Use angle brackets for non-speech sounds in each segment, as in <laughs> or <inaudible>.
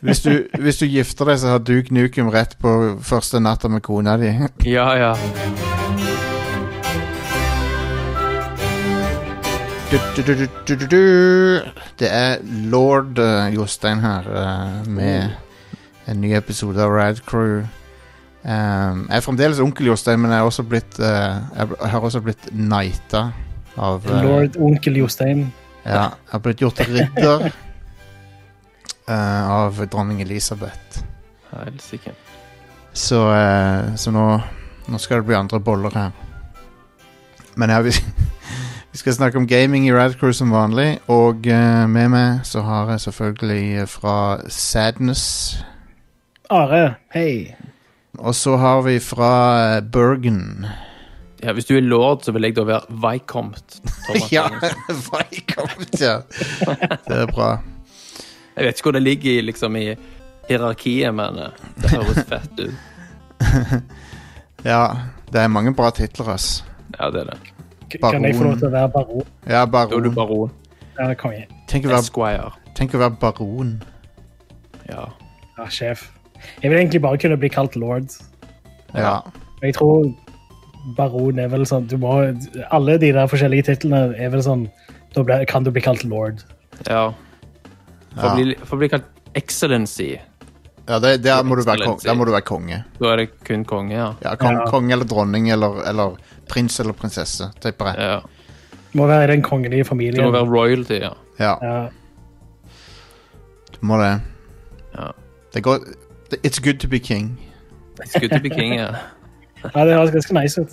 Hvis du, hvis du gifter deg, så har Duke Nukem rett på første natta med kona di. Ja, ja. Du, du, du, du, du, du. Det er lord eh, Jostein her eh, med en ny episode av Rad Crew. Um, jeg er fremdeles onkel Jostein, men jeg, er også blitt, eh, jeg bl- jeg har også blitt knighta av eh, Lord onkel Jostein. Ja, jeg har blitt gjort til ridder eh, av dronning Elisabeth. Helsike. Så, eh, så nå, nå skal det bli andre boller her. Men ja, vi, <laughs> vi skal snakke om gaming i Radcrew som vanlig. Og eh, med meg så har jeg selvfølgelig eh, fra Sadness. Are, hei. Og så har vi fra eh, Bergen. Ja, hvis du er lord, så vil jeg da være Vicomt. <laughs> Thomas Ja, Engelsen. velkommen til Det er bra. Jeg vet ikke hvor det ligger i, liksom, i hierarkiet, men eh, det høres fett ut. Ja, det er mange bra titler, ass. Ja, det er det. K- Kan jeg få lov til å være baron? Ja, Da er du baron. baron. Ja, konge. Tenk å være, Esquire. tenk å være baron. Ja. Ja, sjef. Jeg vil egentlig bare kunne bli kalt lord. Ja. Og Jeg tror baron er vel sånn du må, Alle de der forskjellige titlene er vel sånn Da ble, kan du bli kalt lord. ja. For å Ja. bli, for å bli kalt excellency, Ja, det, der, må du være kong, Excellency. der må du være konge. da er det kun konge, ja. Ja, kong, Ja. kong eller dronning eller, eller prins eller prinsesse, tipper jeg. ja. Må være i den kongelige Det må familien. være royalty, ja. Ja, Ja, du må det. Ja. Det er godt It's good to be king. Skudd til king, ja. ja det høres ganske nice ut.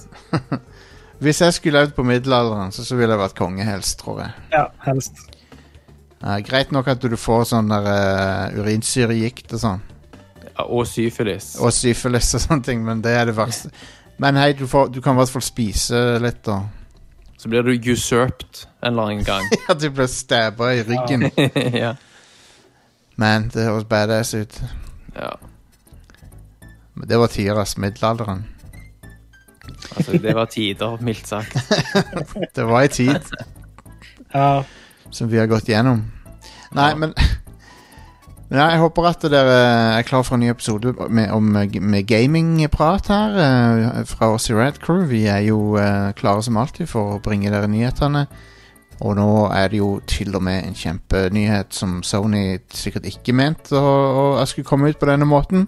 Hvis jeg skulle levd på middelalderen, så, så ville jeg vært konge helst, tror jeg. Ja, helst. Eh, greit nok at du får sånn der eh, urinsyregikt og sånn, Ja, Og syfilis. og syfilis og sånne ting, men det er det verste. Men hei, du, får, du kan i hvert fall spise litt, da. <laughs> Så blir du usurped en eller annen gang. <laughs> Ja, du blir stabba i ryggen. ja. Men det høres badass ut. ja. Men det var tiras middelalderen. Altså, det var tider, mildt sagt. Det var ei tid. Ja, som vi har gått gjennom. Nei, Ja. men <laughs> men ja, jeg håper at dere er klar for en ny episode med, om, med gamingprat her eh, fra oss i Red Crew. Vi er jo eh, klare som alltid for å bringe dere nyhetene. Og nå er det jo til og med en kjempenyhet som Sony sikkert ikke mente å, å, at skulle komme ut på denne måten.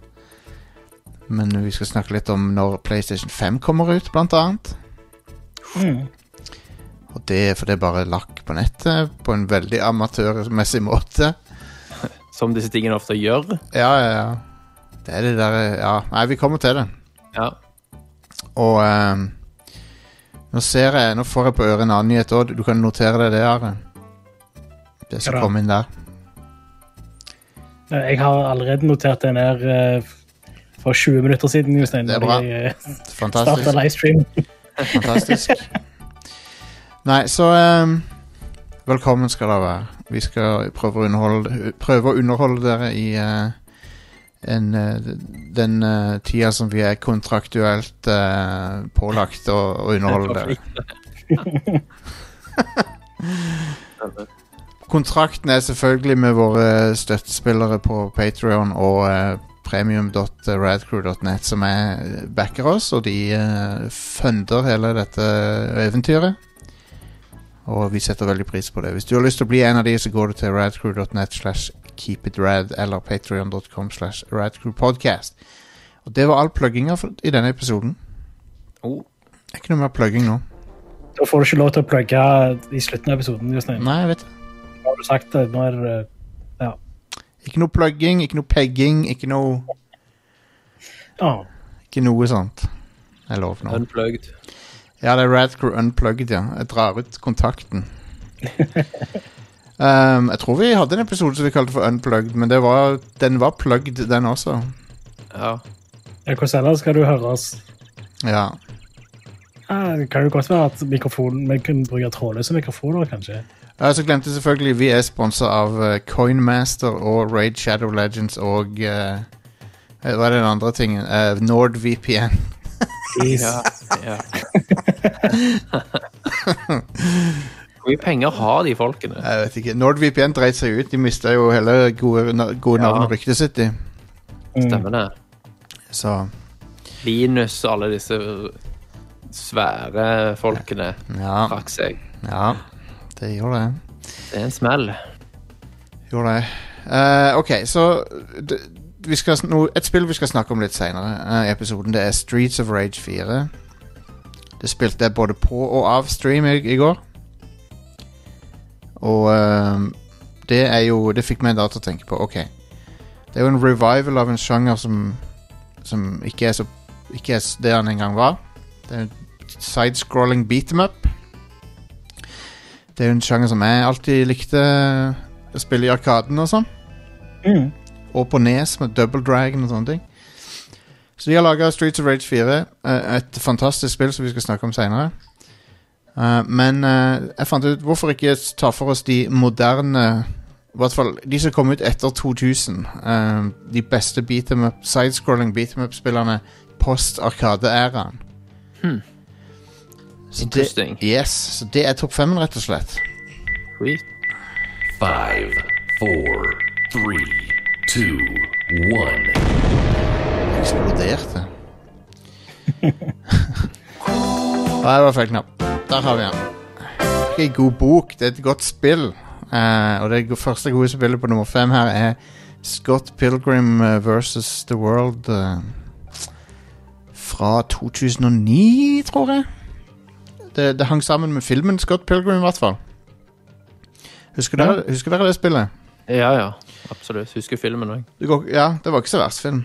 Men vi skal snakke litt om når PlayStation 5 kommer ut, blant annet. Mm. Og det er fordi det er bare lakk på nettet på en veldig amatørmessig måte. Som disse tingene ofte gjør. Ja, ja, ja. Det er det der Ja, nei, vi kommer til det. Ja. Og ehm, nå ser jeg Nå får jeg på øret en annen nyhet òg. Du kan notere deg det, Are. Det som Hva da? kom inn der. jeg har allerede notert den her eh, for 20 minutter siden, Jostein. Det er bra. når Jeg eh, starta Fantastisk. livestream. fantastisk. Nei, så ehm, Velkommen skal dere være. Vi skal prøve å underholde, prøve å underholde dere i eh, en, eh, den eh, tida som vi er kontraktuelt eh, pålagt å, å underholde dere. Kontrakten er selvfølgelig med våre støttespillere på Patreon og eh, premium.radcrew.net som er backer oss, og de eh, funder hele dette eventyret. Og vi setter veldig pris på det. Hvis du har lyst til å bli en av de, så går du til radcrew.net slash keepitrad eller patreon.com slash radcrewpodcast. Og det var all plugginga for- i denne episoden. Oh, Det er ikke noe mer plugging nå. Da får du ikke lov til å plugge i slutten av episoden, Jostein. Nei, jeg vet det. Nå har du sagt det. eh, Nå er det Ja. Ikke noe plugging, ikke noe pegging, ikke noe ja. Ikke noe sånt. Jeg lover nå. unplugged. Ja, det er Radcrew Unplugged, ja. Jeg drar ut kontakten. um, jeg tror vi hadde en episode som vi kalte for Unplugged, men det var, den var plugged, den også. Ja. Ja, Hvordan ellers skal du høre oss? Ja. Ja, det kan jo godt være at mikrofonen, vi kunne bruke trådløse mikrofoner, kanskje. Ja, Så glemte jeg selvfølgelig vi er sponsa av eh, Coinmaster og Raid Shadow Legends og eh, eh, Hva er den andre tingen? Eh, NordVPN. <laughs> Jeez. ja. ja. Hvor mye penger har de folkene? Jeg vet ikke. NordVPN dreit seg ut. De mista jo hele gode, na- gode Ja. navn og ryktet sitt, de. Stemmer det? Så Linus og alle disse svære folkene ja. trakk seg. ja. Det gjorde det. Det er en smell. Gjorde det. Eh, ok, så d- vi skal, sn- no, Et spill vi skal snakke om litt seinere i episoden, det er Streets of Rage 4. Det spilte jeg både på og av stream i, i går. Og eh, det er jo Det fikk meg da til å tenke på OK. Det er jo en revival av en sjanger som Som ikke er så Ikke er s- det han en gang var. Det er en sidescrolling beat em up. Det er jo en sjanger som jeg alltid likte spille i Arkaden og sånn. Mm. Og på Nes med Double Dragon og sånne ting. Så de har laga Streets of Rage 4. eh, Et fantastisk spill som vi skal snakke om seinere. Men eh, jeg fant ut hvorfor ikke ta for oss de moderne I hvert fall de som kom ut etter 2000. eh, De beste beat 'em up, sidescrolling beat 'em up-spillerne post Arkade-æraen. Hmm. Så det, Interesting. yes, så det er topp femmen, rett og slett. Sweet. Five, four, three, two, one. eksploderte. <laughs> Nei, det var feil knapp. Der har vi den. Det er en god bok, det er et godt spill. Eh, og det go- første gode spillet på nummer fem her er Scott Pilgrim eh, versus The World eh, fra 2009, tror jeg. Det, det hang sammen med filmen Scott Pilgrim, i hvert fall. Husker dere, husker dere det spillet? Ja, ja. Absolutt. Husker filmen òg. Det går, ja, det var ikke så verst film.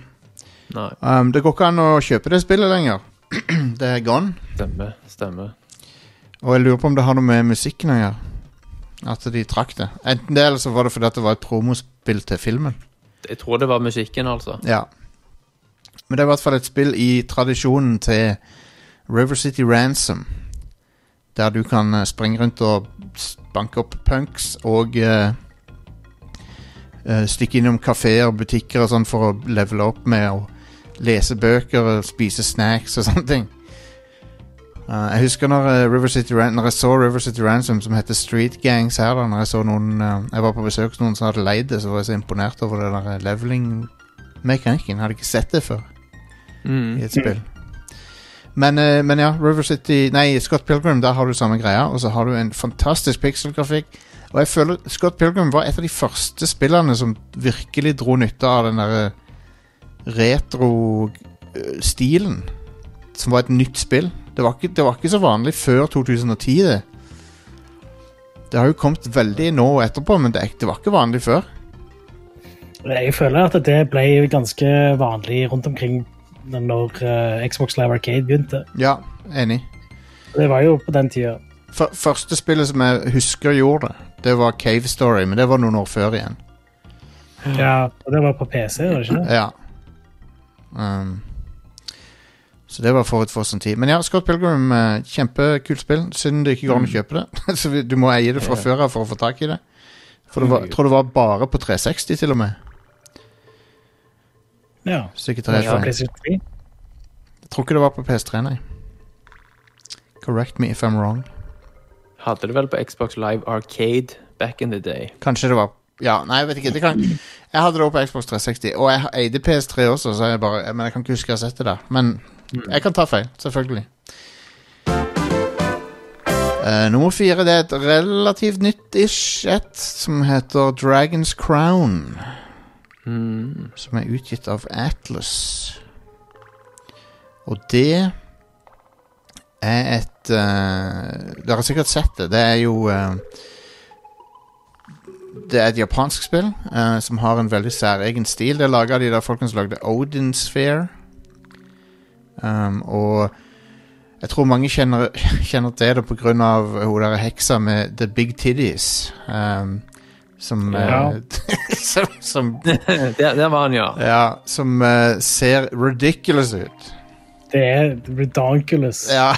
Nei. Um, det går ikke an å kjøpe det spillet lenger. <clears throat> det er gone. Stemmer. Stemmer. Og jeg lurer på om det har noe med musikken å gjøre. At de trakk det. Enten det, eller så var det fordi at det var et promospill til filmen. Jeg tror det var musikken, altså. Ja. Men det er i hvert fall et spill i tradisjonen til River City Ransom. Der du kan eh, springe rundt og s- banke opp punks og eh, eh, stikke innom kafeer og butikker og sånn for å levele opp med å lese bøker og spise snacks og <laughs> sånne ting. Eh, jeg husker når, eh, River City Ran når jeg så River City Ransom, som heter Street Gangs her, da, når jeg så noen eh, Jeg var på besøk hos noen som hadde leid det, så var jeg så imponert over det der eh, leveling-mekanikken. Hadde ikke sett det før Mm. i et spill. Men, eh, men ja, River City Nei, Scott Pilgrim, der har du samme greia. Og så har du en fantastisk pikselgrafikk. Og jeg føler Scott Pilgrim var et av de første spillene som virkelig dro nytte av den eh, derre retro-stilen. eh, Som var et nytt spill. Det var, ikke, det var ikke så vanlig før 2010, det. Det har jo kommet veldig nå og etterpå, men det, er ikke- det var ikke vanlig før. Jeg føler at det ble ganske vanlig rundt omkring når eh, Xbox Live Arcade begynte. Ja, enig. Det var jo på den tida. F første spillet som jeg husker gjorde det, det var Cave Story, men det var noen år før igjen. Ja, og det var på PC, var det ikke det? Ja. Um, så det var forut for sin tid. Men ja, Scott Pilgrim, eh, kjempekult spill. Synd det ikke går an å kjøpe det. <laughs> så vi- du må eie det fra Ja. før av for å få tak i det. For det var, jeg tror det var bare på 360 til og med. Ja. Hvis ikke tar Det helt var feil. PlayStation 3. Jeg tror ikke det var på PS3, nei. Correct me if I'm wrong. Hadde det vel på Xbox Live Arcade back in the day. Kanskje det var Ja, nei, jeg vet ikke. Det kan, jeg hadde det også på Xbox 360, og jeg ha- eide PS3 også, så jeg bare, men jeg kan ikke huske jeg har sett det der. Men jeg kan ta feil, selvfølgelig. Eh, nummer fire det er et relativt nytt ish et som heter Dragons Crown. Mm. <laughs> Som er utgitt av Atlas. Og det er et eh, Dere har sikkert sett det. Det er jo eh, Det er et japansk spill eh, som har en veldig særegen stil. Det er laga av de der folkene som lagde Odin Sphere. Um, og jeg tror mange kjenner, <laughs> kjenner til det pga. hun der heksa med The Big Titties. Um, som, Ja. eh, som, som der, der var han, ja. ja, som eh, ser ridiculous ut. Det er Redonculous. Ja.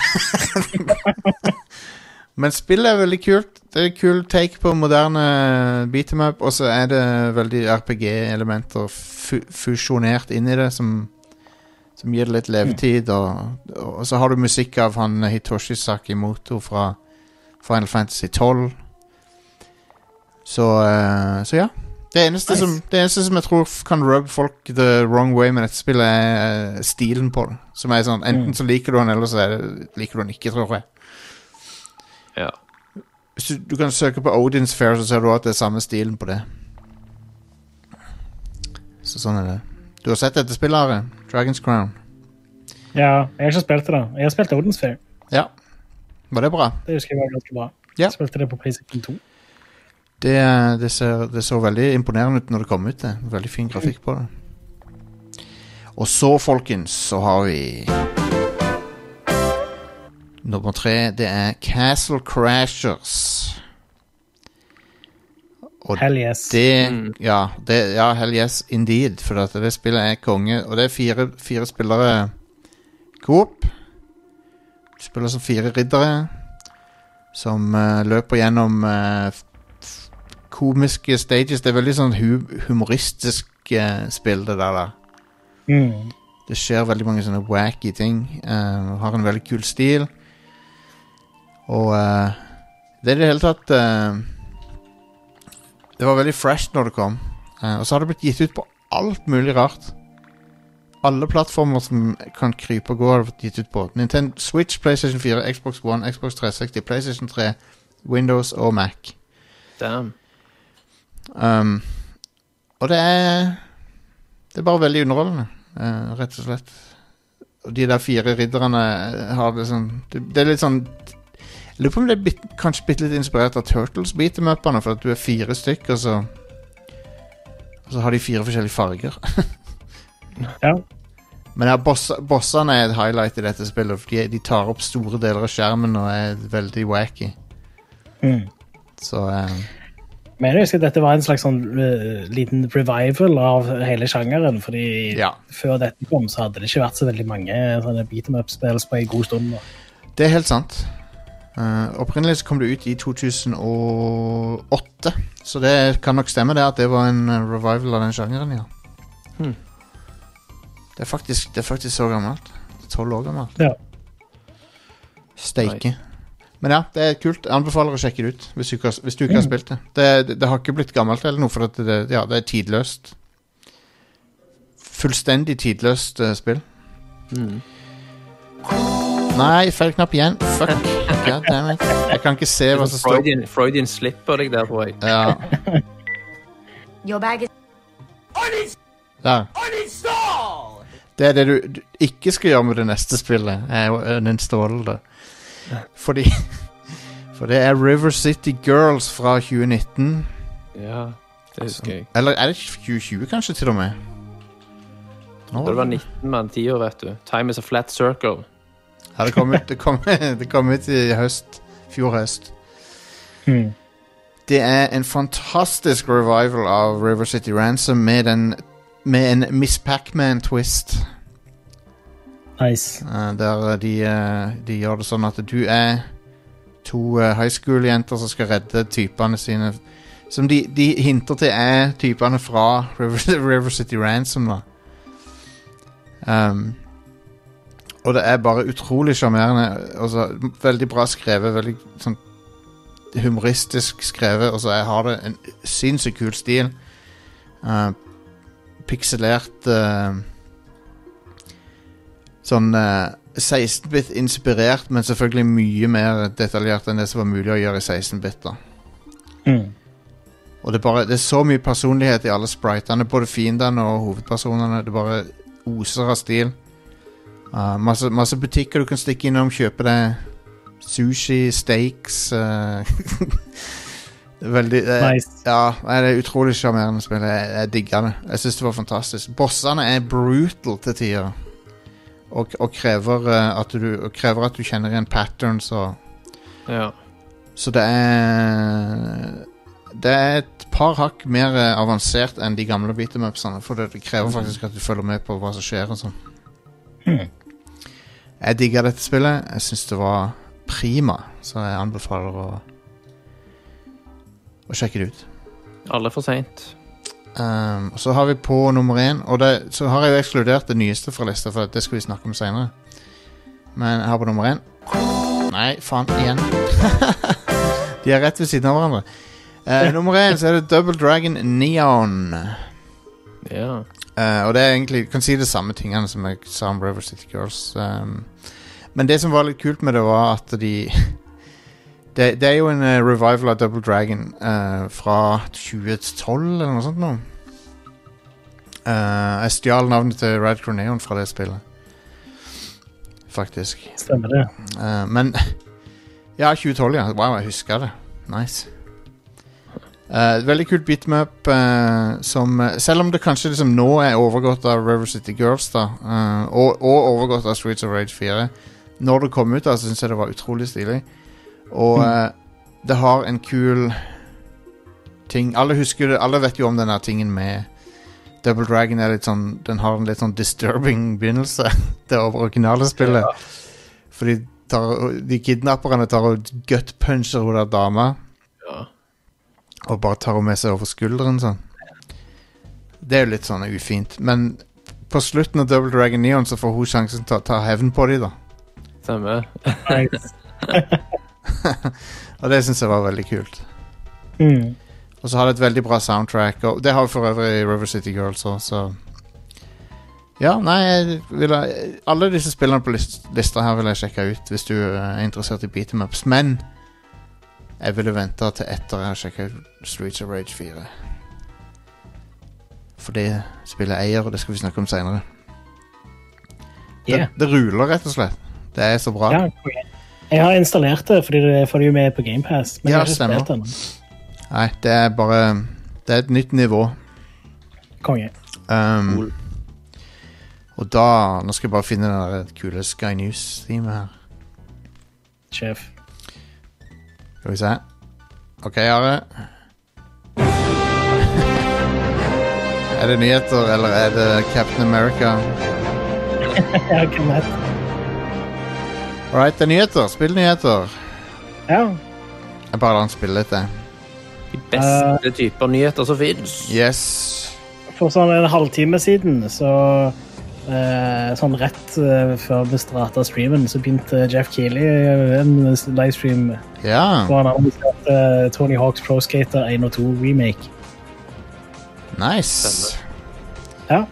<laughs> Men spillet er veldig kult. Det er kul take på moderne beat em up, og så er det veldig RPG-elementer fu fusjonert inn i det, som, som gir det litt levetid. Og, og så har du musikk av han Hitoshi Sakimoto fra Final Fantasy 12. Så, eh, så ja. Det eneste, Nice. som, det eneste som jeg tror f- kan rub folk the wrong way med dette spillet, er eh, stilen på det. Som er sånn, Enten Mm. så liker du den, eller så er det, liker du den ikke, tror jeg. Ja. Hvis du, du kan søke på Odins Fair, så ser du at det er samme stilen på det. Så sånn er det. Du har sett dette spillet, Are? Dragons Crown. Ja, jeg har ikke spilt det, da. Jeg har spilt Odins Fair. Ja. Var det bra? Det husker jeg var ganske bra. Ja. Spilte det på PlayStation 2. Det, det, ser, det så veldig imponerende ut når det kom ut. det Veldig fin grafikk på det. Og så, folkens, så har vi Nummer tre, det er Castle Crashers. Og Hell yes. det, Mm. ja, det Ja, hell yes, indeed. For at det spillet er konge. Og det er fire, fire spillere coop. Du spiller som fire riddere som eh, løper gjennom eh, f- f- komiske stages. Det er veldig sånn hu humoristisk eh, spill, det der. da Mm. det skjer veldig mange sånne wacky ting. eh, har en veldig kul stil. Og eh, det er i det hele tatt eh, Det var veldig fresh når det kom. Eh, og så har det blitt gitt ut på alt mulig rart. Alle plattformer som kan krype og gå, har det blitt gitt ut på. Nintendo Switch, PlayStation 4, Xbox One, Xbox 360, PlayStation 3, Windows og Mac. Damn. Um, og det er Det er bare veldig underholdende, eh, rett og slett. Og de der fire ridderne eh, har det sånn Det, det er litt sånn Jeg lurer på om det er bit, kanskje bitte litt inspirert av Turtles beat em up-ene, for at du er fire stykk, og så Og så har de fire forskjellige farger. Ja. Men ja, boss, bossene er et highlight i dette spillet. For de, de tar opp store deler av skjermen og er veldig wacky. Mm. Så eh, Men jeg husker at dette var en slags sånn eh, liten revival av hele sjangeren. fordi Ja. før dette kom, så hadde det ikke vært så veldig mange sånne beat em up-spill på en god stund. da. Det er helt sant. Eh, opprinnelig så kom det ut i 2008, så det kan nok stemme det at det var en eh, revival av den sjangeren, ja. Hmm. Det, er faktisk, det er faktisk så gammelt. Tolv år gammelt. Ja. Steike. Men ja, det er kult. Jeg anbefaler å sjekke det ut hvis du ikke har, hvis du ikke har Mm. spilt det. Det, det. det har ikke blitt gammelt eller noe, for at det, ja, det er tidløst. Fullstendig tidløst eh, spill. Mm. Nei, feil knapp igjen. <laughs> Fuck. God damn it. Jeg kan ikke se hva som står Freudian, Freudian slipper deg der, tror jeg. Ja, Your bag is. der. Det er det du, du ikke skal gjøre med det neste spillet, er å uninstalle det. Fordi <laughs> For det er River City Girls fra 2019. Ja, det husker jeg. Eller er det 2020, kanskje, til og med? Nå Da det var 19 mann 10 år, vet du. Time is a flat circle. Ja, det kom ut, det kom, <laughs> det kom ut i høst. Fjor høst. Mm. Det er en fantastisk revival av River City Ransom med, den, med en Miss Pacman-twist. Nice. Eh, der eh, de, eh, de gjør det sånn at du er to eh, high school-jenter som skal redde typene sine. Som de, de hinter til er typene fra <laughs> River, River City Ransom, da. Um, og det er bare utrolig sjarmerende. Altså, veldig bra skrevet, veldig sånn humoristisk skrevet. Og så er- har det en sinnssykt kul stil. Eh, pikselert eh, sånn eh, 16-bit inspirert, men selvfølgelig mye mer detaljert enn det som var mulig å gjøre i 16-bit. da. Mm. Og det er, bare, det er så mye personlighet i alle spritene, både fiendene og hovedpersonene. Det bare oser av stil. Eh, masse, masse butikker du kan stikke innom, kjøpe deg sushi, steaks eh, <laughs> Veldig eh, Nice. Ja, nei, det er utrolig sjarmerende spill. Jeg, jeg digger det. Jeg syns det var fantastisk. Bossene er brutal til tider. Og, og, krever, eh, at du, og krever at du kjenner igjen patterns og Ja. så det er Det er et par hakk mer eh, avansert enn de gamle beatemupsene. For det det krever faktisk at du følger med på hva som skjer og sånn. Hmm. Jeg digga dette spillet. Jeg syns det var prima, så jeg anbefaler å å sjekke det ut. Aldri for seint. Um, og så har vi på nummer én Og det, så har jeg jo ekskludert det nyeste fra lista, for det skal vi snakke om seinere. Men jeg har på nummer én Nei, faen, igjen. <laughs> De er rett ved siden av hverandre. Eh, nummer én så er det Double Dragon Neon. Ja. Eh, og det er egentlig Du kan si det samme tingene som jeg sa om River City Girls. ehm. men det som var litt kult med det, var at de <laughs> Det, det er jo en eh, revival av Double Dragon eh, fra 2012 eller noe sånt nå. Eh, jeg stjal navnet til Radcrow Neon fra det spillet. Faktisk. Stemmer det. Eh, men <laughs> Ja, 2012, ja. Wow, jeg husker det. Nice. Eh, veldig kult beatmap eh, som eh, Selv om det kanskje liksom nå er overgått av River City Girls, da, eh, og, og overgått av Streets of Rage 4, når det kom ut, da, så syns jeg det var utrolig stilig. Og eh, det har en kul ting Alle husker det, alle vet jo om denne tingen med Double Dragon er litt sånn Den har en litt sånn disturbing begynnelse, <laughs> det originale spillet. Fordi tar, de kidnapperne tar og gutpuncher hun der dama ja. og bare tar henne med seg over skulderen sånn. Det er jo litt sånn ufint. Men på slutten av Double Dragon Neon så får hun sjansen til å ta hevn på dem, da. Stemmer. <laughs> Nice. Og det syns jeg var veldig kult. Mm. Og så har det et veldig bra soundtrack, og det har for øvrig River City Girls òg, så Ja, nei, jeg vil ha, alle disse spillene på list, lista her vil jeg sjekke ut hvis du eh, er interessert i beat em ups, men jeg ville vente til etter jeg har sjekka ut Streets of Rage 4. For det spillet eier, og det skal vi snakke om seinere. Yeah. Det, det ruler, rett og slett. Det er så bra. Ja, konge. jeg har installert det, fordi det får du jo med på GamePass. Men Ja, jeg har ikke stemmer. spilt den. Nei, det er bare Det er et nytt nivå. Konge. Um, Cool. Og da Nå skal jeg bare finne den der kule Sky News-teamet her. Sjef. Skal vi se. OK, Are. <laughs> er det nyheter, eller er det Captain America? Ja, hvem vet. All right, det er nyheter. Spillnyheter. Ja. Jeg bare lar den spille litt, jeg. De beste typer nyheter som fins. Yes. For sånn en halvtime siden, så eh, Sånn rett eh, før vi starta streamen, så begynte Jeff Keeley en livestream Ja, hvor han annonserte eh, Tony Hawks Pro Skater 1 og 2 remake. nice. Ja. Eh.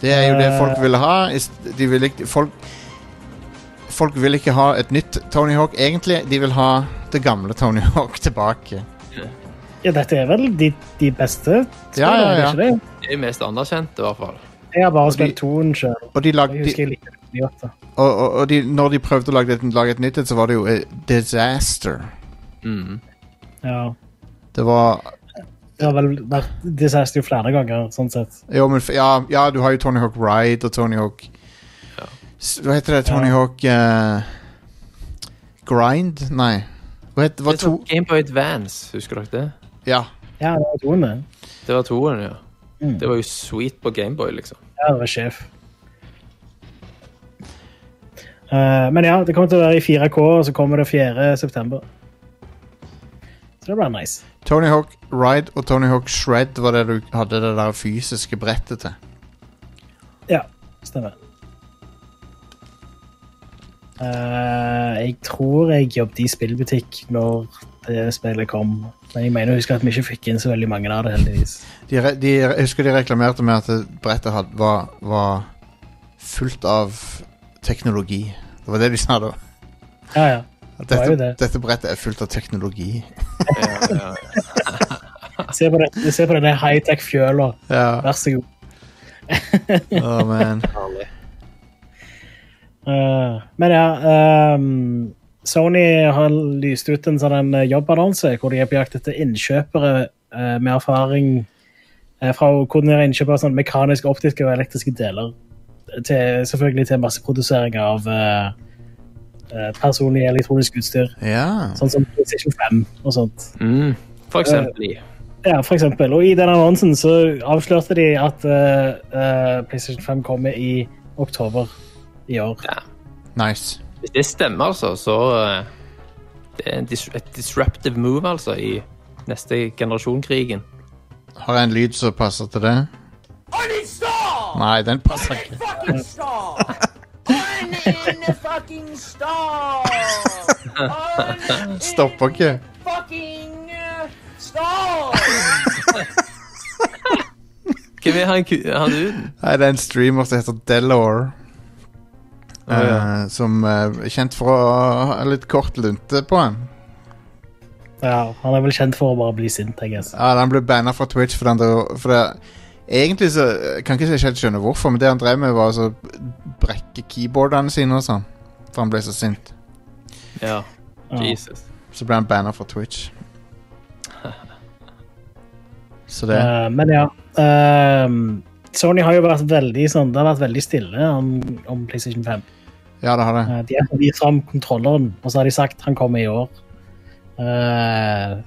Det er jo det folk ville ha. Ist- De vil ikke, folk, folk vil ikke ha et nytt Tony Hawk, egentlig. De vil ha det gamle Tony Hawk <laughs> tilbake. ja, dette er vel de, de beste? Ja, ja, ja. er det ikke det? Det er jo mest anerkjente, i hvert fall. Jeg har bare de- spilt toen sjøl. Og de Jeg lagde de, husker jeg likte det veldig godt. da. Og, og, og de, når de prøvde å lage et, lage et nytt et, så var det jo eh, disaster. Mm. Ja. Det var Det har vel vært disaster flere ganger, sånn sett. jo, men, f- ja, ja, du har jo Tony Hawk Ride og Tony Hawk S- Hva heter det? Tony Ja. Hawk eh, Grind? Nei. Hva het det? Det Var er sånn to Gameboy Advance, husker dere det? Ja. Ja, det var toen, det. Det var toen, ja. Mm. Det var jo sweet på Gameboy, liksom. Ja, det var sjef. Eh, men ja, det kommer til å være i 4K, og så kommer det 4. september. Så det blir nice. Tony Hawk Ride og Tony Hawk Shred var det du hadde det der fysiske brettet til. Ja, stemmer. Eh, jeg tror jeg jobbet i spillbutikk når det spillet kom. Men jeg mener å huske at vi ikke fikk inn så veldig mange av det, heldigvis. De, re- de, jeg husker de reklamerte med at det brettet had, var, var fullt av teknologi. Det var det de sa da. Ja, ja. At Det var dette, jo det. dette brettet er fullt av teknologi. Ja, ja, ja. Se på, det, se på denne high-tech-fjøla. Ja. Vær så god. Åh, man. Herlig. Eh, men ja ehm, Sony har lyst ut en sånn en jobbannonse hvor de er på jakt etter innkjøpere eh, med erfaring eh, fra å koordinere innkjøp av sånn mekanisk, optiske og elektriske deler. eh, Til, selvfølgelig til masseprodusering av eh, eh, personlig elektronisk utstyr. <laughs> Ja. Sånn som PlayStation 5 og sånt. Mm. For eksempel i Ja, for eksempel. Og i den annonsen så avslørte de at eh, eh, PlayStation 5 kommer i oktober i år. Nice. Hvis det stemmer, altså, så eh, Det er en dis et disruptive move, altså, i neste generasjon-krigen. Har jeg en lyd som passer til det? Uninstall! Nei, den passer ikke. Fucking stall! Uninstall! Stopper ikke. Fucking uh, Hvem er han, ku- han duden? Nei, det er en streamer som heter Delore. Å, ja. eh, som eh, er kjent for å ha litt kort lunte på han. Ja, han er vel kjent for å bare bli sint, jeg guess. Ja, Han ble banna fra Twitch fordi han drev for det, Egentlig så jeg kan ikke si helt skjønner hvorfor, men det han drev med, var altså å brekke keyboardene sine og sånn. For han ble så sint. Ja, Ja. Jesus. Så ble han banna fra Twitch. <laughs> Så det Eh, men ja. ehm, Sony har jo vært veldig sånn, det har vært veldig stille om, om PlayStation 5. Ja, det har det. Eh, de har vist fram kontrolleren, og så har de sagt han kommer i år. Eh,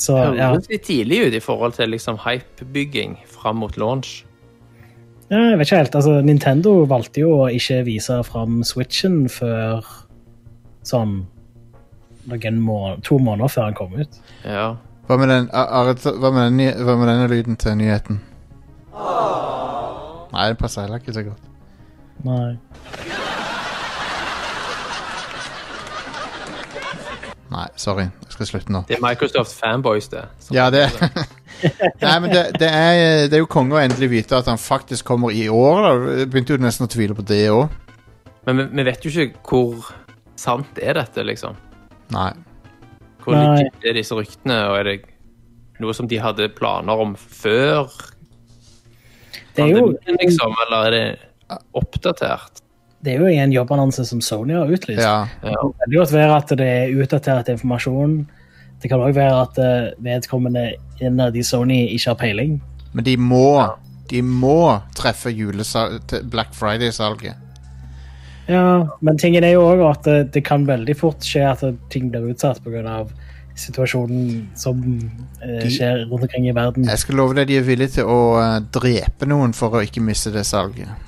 så Det ja. høres litt tidlig ut i forhold til liksom hypebygging fram mot launch. Ja, Jeg vet ikke helt. Altså, Nintendo valgte jo å ikke vise fram Switchen før sånn noen må to måneder før han kom ut. Ja. Hva med den, A- Aret, hva med den, ny- hva med denne lyden til nyheten? Nei, det passer heller ikke så godt. Nei. Nei, sorry. Jeg skal slutte nå. Det er Microsoft fanboys, det. Så Ja, det <laughs> Nei, men det, det, er, det er jo konge å endelig vite at han faktisk kommer i år. Da. Jeg begynte jo nesten å tvile på det òg. Men vi, vi vet jo ikke hvor sant er dette, liksom. Nei. Hvor Nei. legit er disse ryktene, og er det noe som de hadde planer om før Det er jo, pandemien, liksom? Eller er det oppdatert? det er jo en jobbannonse som Sony har utlyst. Ja. Ja. Det kan jo godt være at det er utdatert informasjon. Det kan òg være at eh, vedkommende innad i Sony ikke har peiling. Men de må De må treffe julesal til Black Friday-salget. Ja, Men tingen er jo òg at eh, det kan veldig fort skje at eh, ting blir utsatt pga. situasjonen som eh, De- skjer rundt omkring i verden. Jeg skal love deg de er villige til å eh, drepe noen for å ikke miste det salget. ja.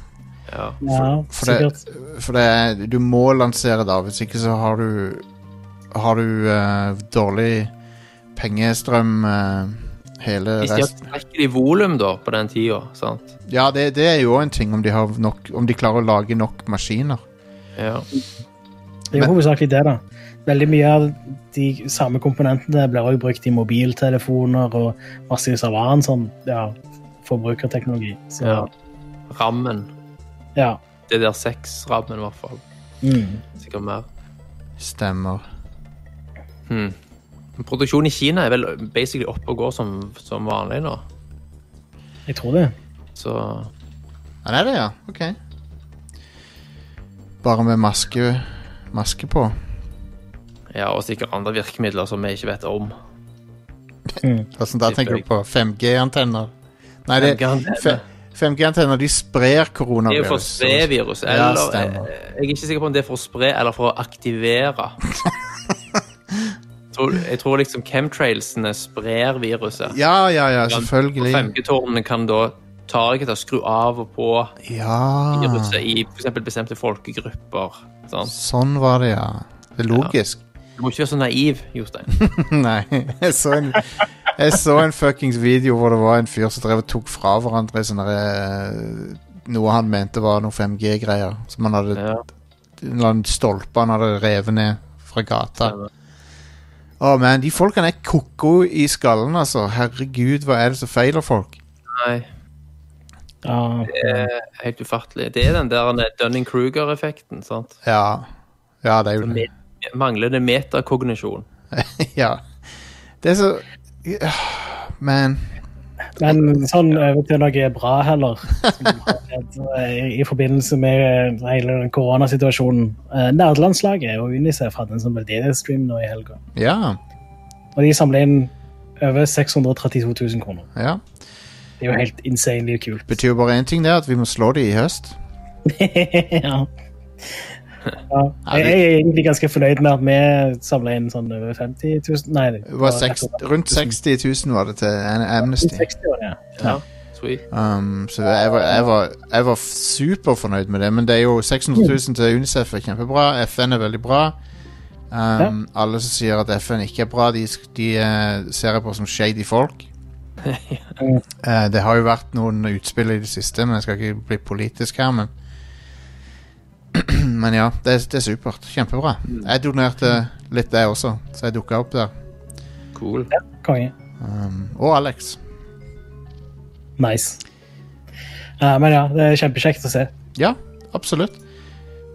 Ja, For det, sikkert. for det er- du må lansere da, hvis ikke så har du Har du eh, dårlig pengestrøm eh, hele Hvis de har resten. tilstrekkelig volum da, på den tida, sant? Ja, det, det er jo også en ting om de, har nok, om de klarer å lage nok maskiner. Ja. Det er jo hovedsakelig det, da. Veldig mye av de samme komponentene blir også brukt i mobiltelefoner og massevis av annen sånn ja, forbrukerteknologi. Så ja. ja. Rammen. ja. Det der sexrammen, i hvert fall. Mm. Sikkert mer. Stemmer. Produksjonen i Kina er vel basically oppe og går som, som vanlig nå. Jeg tror det. Så Ja, det er det, ja. Ok. Bare med maske, maske på. Ja, og sikkert andre virkemidler som vi ikke vet om. Altså, da tenker du på 5G-antenner. Nei, det 5G-antenner. fe- 5G-antenner de sprer Det er jo for å koronavirus. spre virus, Ja, eller eh, stemmer. jeg, jeg er ikke sikker på om det er for å spre eller for å aktivere. <laughs> Tror- Jeg tror liksom chemtrailsene sprer viruset. Ja, ja, ja, Og selvfølgelig. 5G-tårnene kan da targete skru av og på Ja, viruset i f.eks. bestemte folkegrupper. Sant? sånn var det, ja. Det er logisk. Du må ikke være så naiv, Jostein. <laughs> Nei, jeg så en Jeg så en fuckings video hvor det var en fyr som drev og tok fra hverandre sånne, eh, noe han mente var noe 5G-greier. Som han hadde Ja. en eller annen stolpe han hadde revet ned fra gata. Stemmer. Å, man, de folkene er koko i skallen, altså. Herregud, hva er det som feiler folk? Nei, Ja. det er Eh, helt ufattelig. Det er den der eh, Dunning-Kruger-effekten, sant? Ja, ja det er jo det. Med- Manglende metakognisjon. <laughs> ja. Det er så Ja, Man. Men sånn over til noe bra <laughs> heller. som har skjedd, eh, I forbindelse med eh, hele den koronasituasjonen. Eh, Nerdelandslaget og Unicef hadde en sånn veldedighetstream nå i helga. Ja. Og de samla inn over 632 000 kroner. ja. Det er jo helt insanely kult. Betyr jo bare én ting, det, at vi må slå de i høst. <laughs> ja. ja. Jeg, jeg er egentlig ganske fornøyd med at vi samla inn sånn over 50 000 Nei, Det var seks- rundt 60 000 var det til An- Amnesty. 60 år, ja. Ja, sweet. Um, så jeg var, jeg, var, jeg var superfornøyd med det, men det er jo 600 000 til UNICEF er kjempebra. FN er veldig bra. Um, Alle som sier at FN ikke er bra, de, sk- de eh, ser jeg på som shady folk. Eh, det har jo vært noen utspill i det siste, men jeg skal ikke bli politisk her, men <clears throat> Men ja, det, er- det er supert. Kjempebra. Jeg donerte litt, jeg også, så jeg dukka opp der. Cool. Konge. Um, og Alex. Nice. Eh, men ja, det er kjempekjekt å se. Ja, absolutt.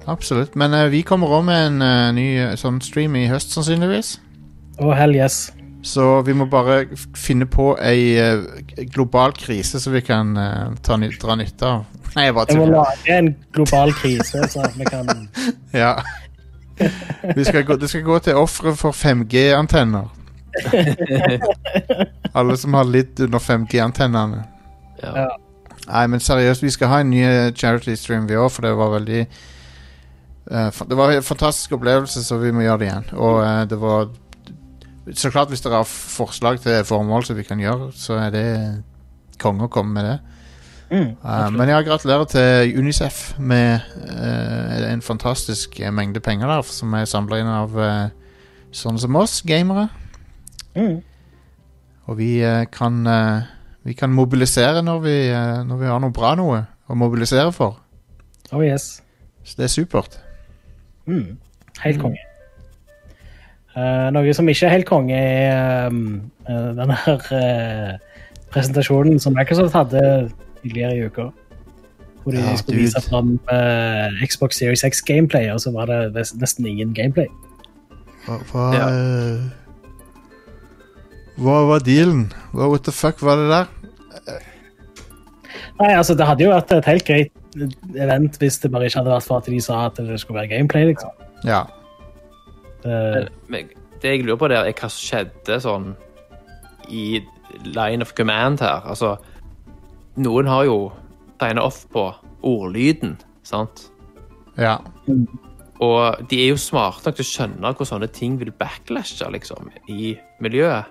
Absolutt. Men eh, vi kommer òg med en eh, ny eh, sånn stream i høst, sannsynligvis. Og hell yes. Så vi må bare f- finne på ei eh, global krise som vi kan eh, ta, ny- dra nytte av. Nei, jeg bare Jeg må tuller. lage en global krise, så at vi kan <laughs> Ja. Vi skal gå, det skal gå til ofre for 5G-antenner. Alle som har lidd under 5G-antennene. Ja. Ja. Nei, men seriøst, vi skal ha en ny eh, charity stream vi òg, for det var veldig eh, fa- Det var en fantastisk opplevelse, så vi må gjøre det igjen. Og eh, det var Så klart, hvis dere har f- forslag til formål som vi kan gjøre, så er det konge å komme med det. Mm, Eh, men ja, gratulerer til Unicef med eh, en fantastisk eh, mengde penger der, som er samla inn av eh, sånne som oss, gamere. mm. Og vi eh, kan eh, Vi kan mobilisere når vi, eh, når vi har noe bra noe å mobilisere for. Oh yes. Så det er supert. Mm. Helt konge. Eh, noe som ikke er helt konge, er um, eh, den her eh, presentasjonen som Microsoft hadde tidligere i uka. Hvor de Ja, skulle dude. vise fram eh, Xbox Series X gameplay, og så var det nes- nesten ingen gameplay. Hva Hva, Ja. eh, hva var dealen? Hva, what the fuck var det der? Nei, altså, det hadde jo vært et helt greit eh, event hvis det bare ikke hadde vært for at de sa at det skulle være gameplay, liksom. Ja. Det- Men det jeg lurer på der, er hva som skjedde sånn i line of command her. Altså, noen har jo tegnet off på ordlyden, sant? ja. Og de er jo smarte nok til å skjønne hvor sånne ting vil backlashe, liksom, i miljøet.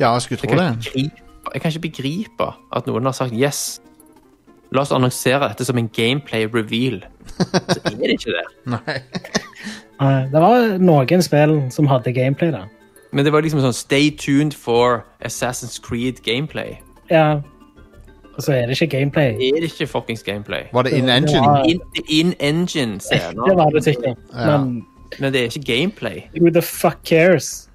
Ja, jeg skulle Jeg tro kan, det. ikke begripe, jeg kan ikke begripe at noen har sagt yes. La oss annonsere dette som en gameplay reveal. <laughs> Så er det ikke det. Nei. Nei, det var noen spill som hadde gameplay, da. Men det var liksom sånn stay tuned for Assassin's Creed gameplay. Ja. Og så er det ikke gameplay. Det er ikke fuckings gameplay. Var det in engine? Ja. In, in engine Det scener. var det sikkert, Ja. men Men det er ikke gameplay. Who the fuck cares?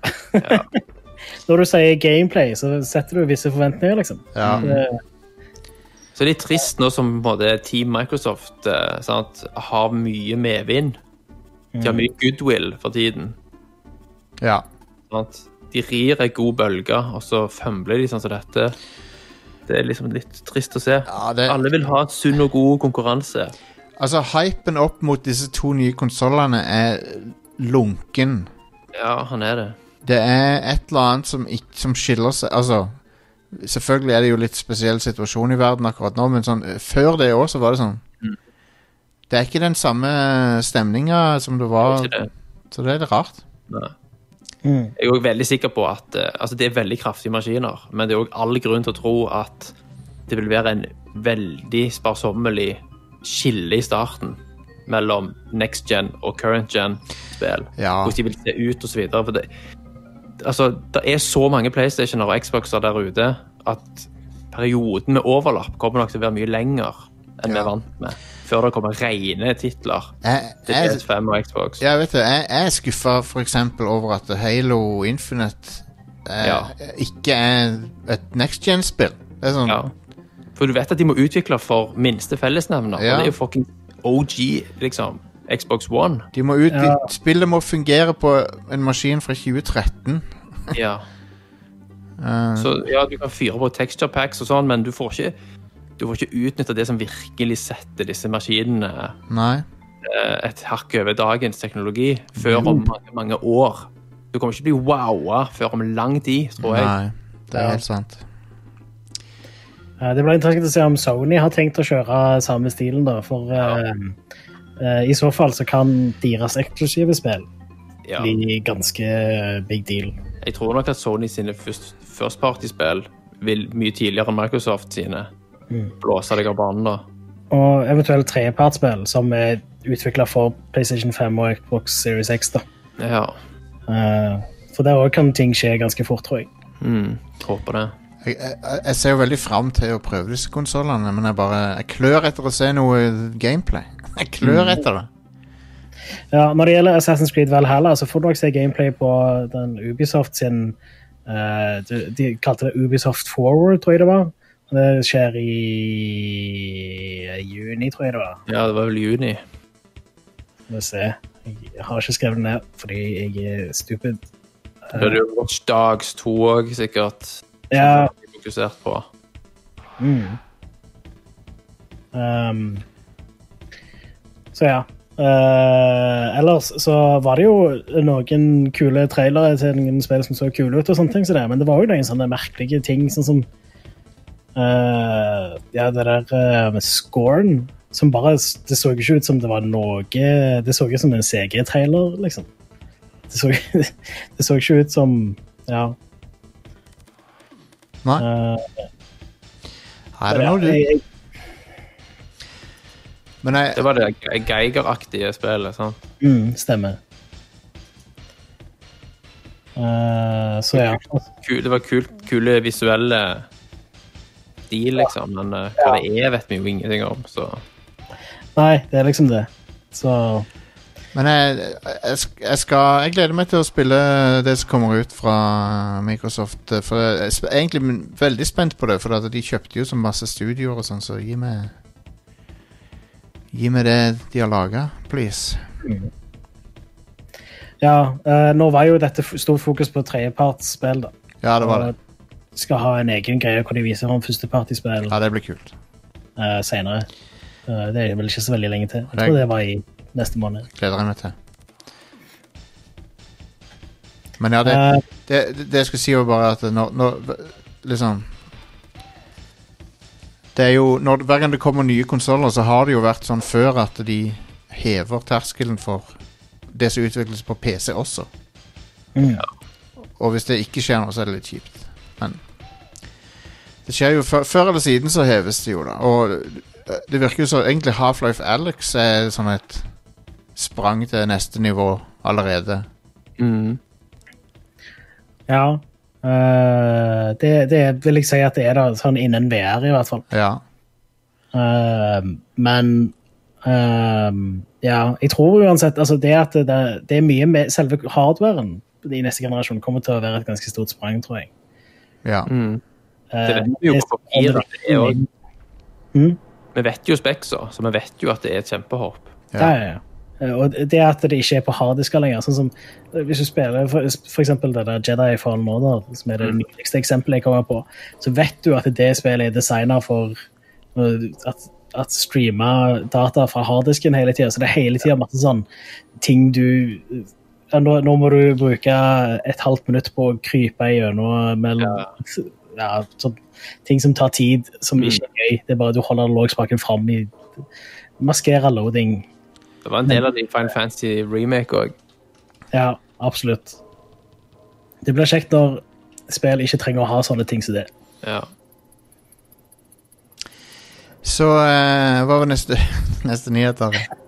<laughs> Når du sier gameplay, så setter du visse forventninger, liksom. Ja. Det- Så det er trist nå som på en måte, Team Microsoft eh, sant, har mye medvind. De Mm. har mye goodwill for tiden. ja. Sant? sånn De rir ei god bølge, og så fømler de sånn som dette. Det er liksom litt trist å se. Ja, det- Alle vil ha en sunn og god konkurranse. Altså, hypen opp mot disse to nye konsollene er lunken. Ja, han er det. Det er et eller annet som, ikk- som skiller seg Altså, selvfølgelig er det jo litt spesiell situasjon i verden akkurat nå, men sånn, eh, før det òg, så var det sånn Mm. Det er ikke den samme stemninga som det var, Ikke det. så det er litt rart. Nei. Mm. Jeg er også veldig sikker på at eh, altså det er veldig kraftige maskiner, men det er også all grunn til å tro at det vil være en veldig sparsommelig skille i starten mellom next gen og current gen-spill. Ja. Hvordan de vil se ut og så videre. For det, altså, det er så mange PlayStationer og Xboxer der ute at perioden med overlapp kommer nok til å være mye lenger enn vi Ja. er vant med. Før det kommer rene titler Jeg, til jeg, PS5 og Xbox. jeg vet det, jeg, jeg er skuffa f.eks. over at Halo Infinite eh, Ja. ikke er et next gen-spill. Det er sånn Ja. For du vet at de må utvikle for minste fellesnevner. Ja. Og det er jo fucking OG, liksom. Xbox <laughs> One. De må ut, Ja. Spillet må fungere på en maskin fra 2013. Ja. Eh, Så ja, du kan fyre på texture packs og sånn, men du får ikke du får ikke utnytta det som virkelig setter disse maskinene nei. eh, et hakk over dagens teknologi før om mange, mange år. Du kommer ikke bli wowa før om lang tid, tror jeg. nei. Det er Ja. helt sant. Eh, Det blir interessant å se om Sony har tenkt å kjøre samme stilen, da. For eh, eh, i så fall så kan deres eksklusive spill Ja. bli ganske big deal. Jeg tror nok at Sony sine først- førstpartyspill vil mye tidligere enn Microsoft sine Mm. blåse deg av banen da. Og eventuelt trepartsspill som er utvikla for PlayStation 5 og Xbox Series X, da. Ja. Eh, For der òg kan ting skje ganske fort, tror jeg. Mm, håper det. Jeg, jeg, jeg ser jo veldig fram til å prøve disse konsollene, men jeg bare jeg klør etter å se noe gameplay. <laughs> Jeg klør etter det. Ja, når det gjelder Assassin's Creed Valhalla, så får du nok se gameplay på den Ubisoft sin eh, de, de kalte det Ubisoft Forward, tror jeg det var. Det skjer i juni, tror jeg det var. Ja, det var vel i juni. Skal vi se. Jeg har ikke skrevet det ned fordi jeg er stupid. Da er det jo Watch Dogs 2 òg, sikkert. Ja. som vi er Fokusert på. Mm. Um, så ja. Eh, ellers så var det jo noen kule trailere til noen spill som så kule ut, og sånne ting, så det, men det var jo noen sånne merkelige ting, sånn som eh, Ja, det der eh, med scoren, som bare Det så ikke ut som det var noe Det så ut som en CG-trailer, liksom. Det så, <laughs> det så ikke ut som Ja. Nei. eh, I don't know, du. jeg- jeg- Men Det jeg, var det Ge- Geiger-aktige spillet. sant? Mm, stemmer. Eh, så ja. Ku- Det var kult, kule visuelle stil, liksom. Men eh, hva det er, vet vi jo ingenting om. Så Nei, det er liksom det. Så men jeg, jeg, sk- jeg skal Jeg gleder meg til å spille det som kommer ut fra Microsoft. eh, For jeg er sp- egentlig men- veldig spent på det, for at de kjøpte jo så masse studioer og sånn, så gi meg Gi meg det de har laga, please. ja, eh, nå var jo dette f- stort fokus på tredjepartsspill, da. Ja, det var det. Og Skal ha en egen greie hvor de viser om førstepartispill Ja, det blir kult. eh, senere. Eh, det er vel ikke så veldig lenge til. Jeg Nei. tror det var i neste måned. Gleder jeg meg til. Men ja, det, Eh, det, det jeg skulle si var bare at når, når Liksom Det er jo når, Hver gang det kommer nye konsoller, så har det jo vært sånn før at de hever terskelen for det som utvikles på PC også. Mm. Og hvis det ikke skjer noe, så er det litt kjipt. Men det skjer jo før, før eller siden så heves det jo, da. Og eh, det virker jo så egentlig Half-Life Alex er sånn et sprang til neste nivå allerede. ja. Eh, det, det vil jeg si at det er da, sånn innen VR, i hvert fall. Ja. Ehm, men ehm, ja, jeg tror uansett altså det at det, det er mye med selve hardwaren i neste generasjon kommer til å være et ganske stort sprang, tror jeg. ja. det Ehm, vet vi jo det på som kommer papiret. Det er jo- Mm. Vi vet jo Speksa, så vi vet jo at det er et kjempehopp. Ja. Ja, ja, ja. Eh, Og det at det ikke er på harddisker lenger. sånn som eh, Hvis du spiller for, for eksempel det der Jedi Fallen Order, som er det nyligste eksempelet jeg kommer på, så vet du at det spillet er designet for eh, at, at streame data fra harddisken hele tida. Så det er hele tida masse sånn ting du eh, ja, nå, nå må du bruke et halvt minutt på å krype gjennom mellom ja. Mm. sånn, ting som tar tid, som ikke er gøy. Det er bare du holder lågspaken fram i Maskerer loading. Det var en del av de Final Fantasy remake òg. Ja, absolutt. Det blir kjekt når spill ikke trenger å ha sånne ting som det. Ja. Så eh, hva var neste, <laughs> neste nyhet? Are?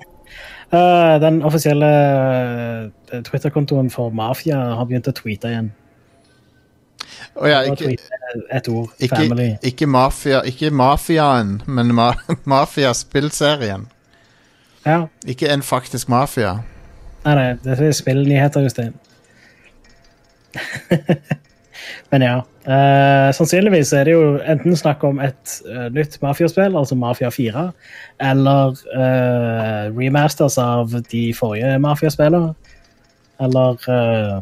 Eh, den offisielle eh, Twitter-kontoen for Mafia har begynt å tweete igjen. Å ja, Og ikke, tweete et ord. ikke, Family. ikke, mafia, ikke mafiaen, men ma <laughs> mafiaspillserien. Ja. Ikke en faktisk mafia. Nei, nei, det er spillnyheter, Jostein. <laughs> Men ja. eh, sannsynligvis er det jo enten snakk om et eh, nytt Mafia-spill, altså Mafia 4, eller eh, remasters av de forrige Mafia-spillene. Eller eh,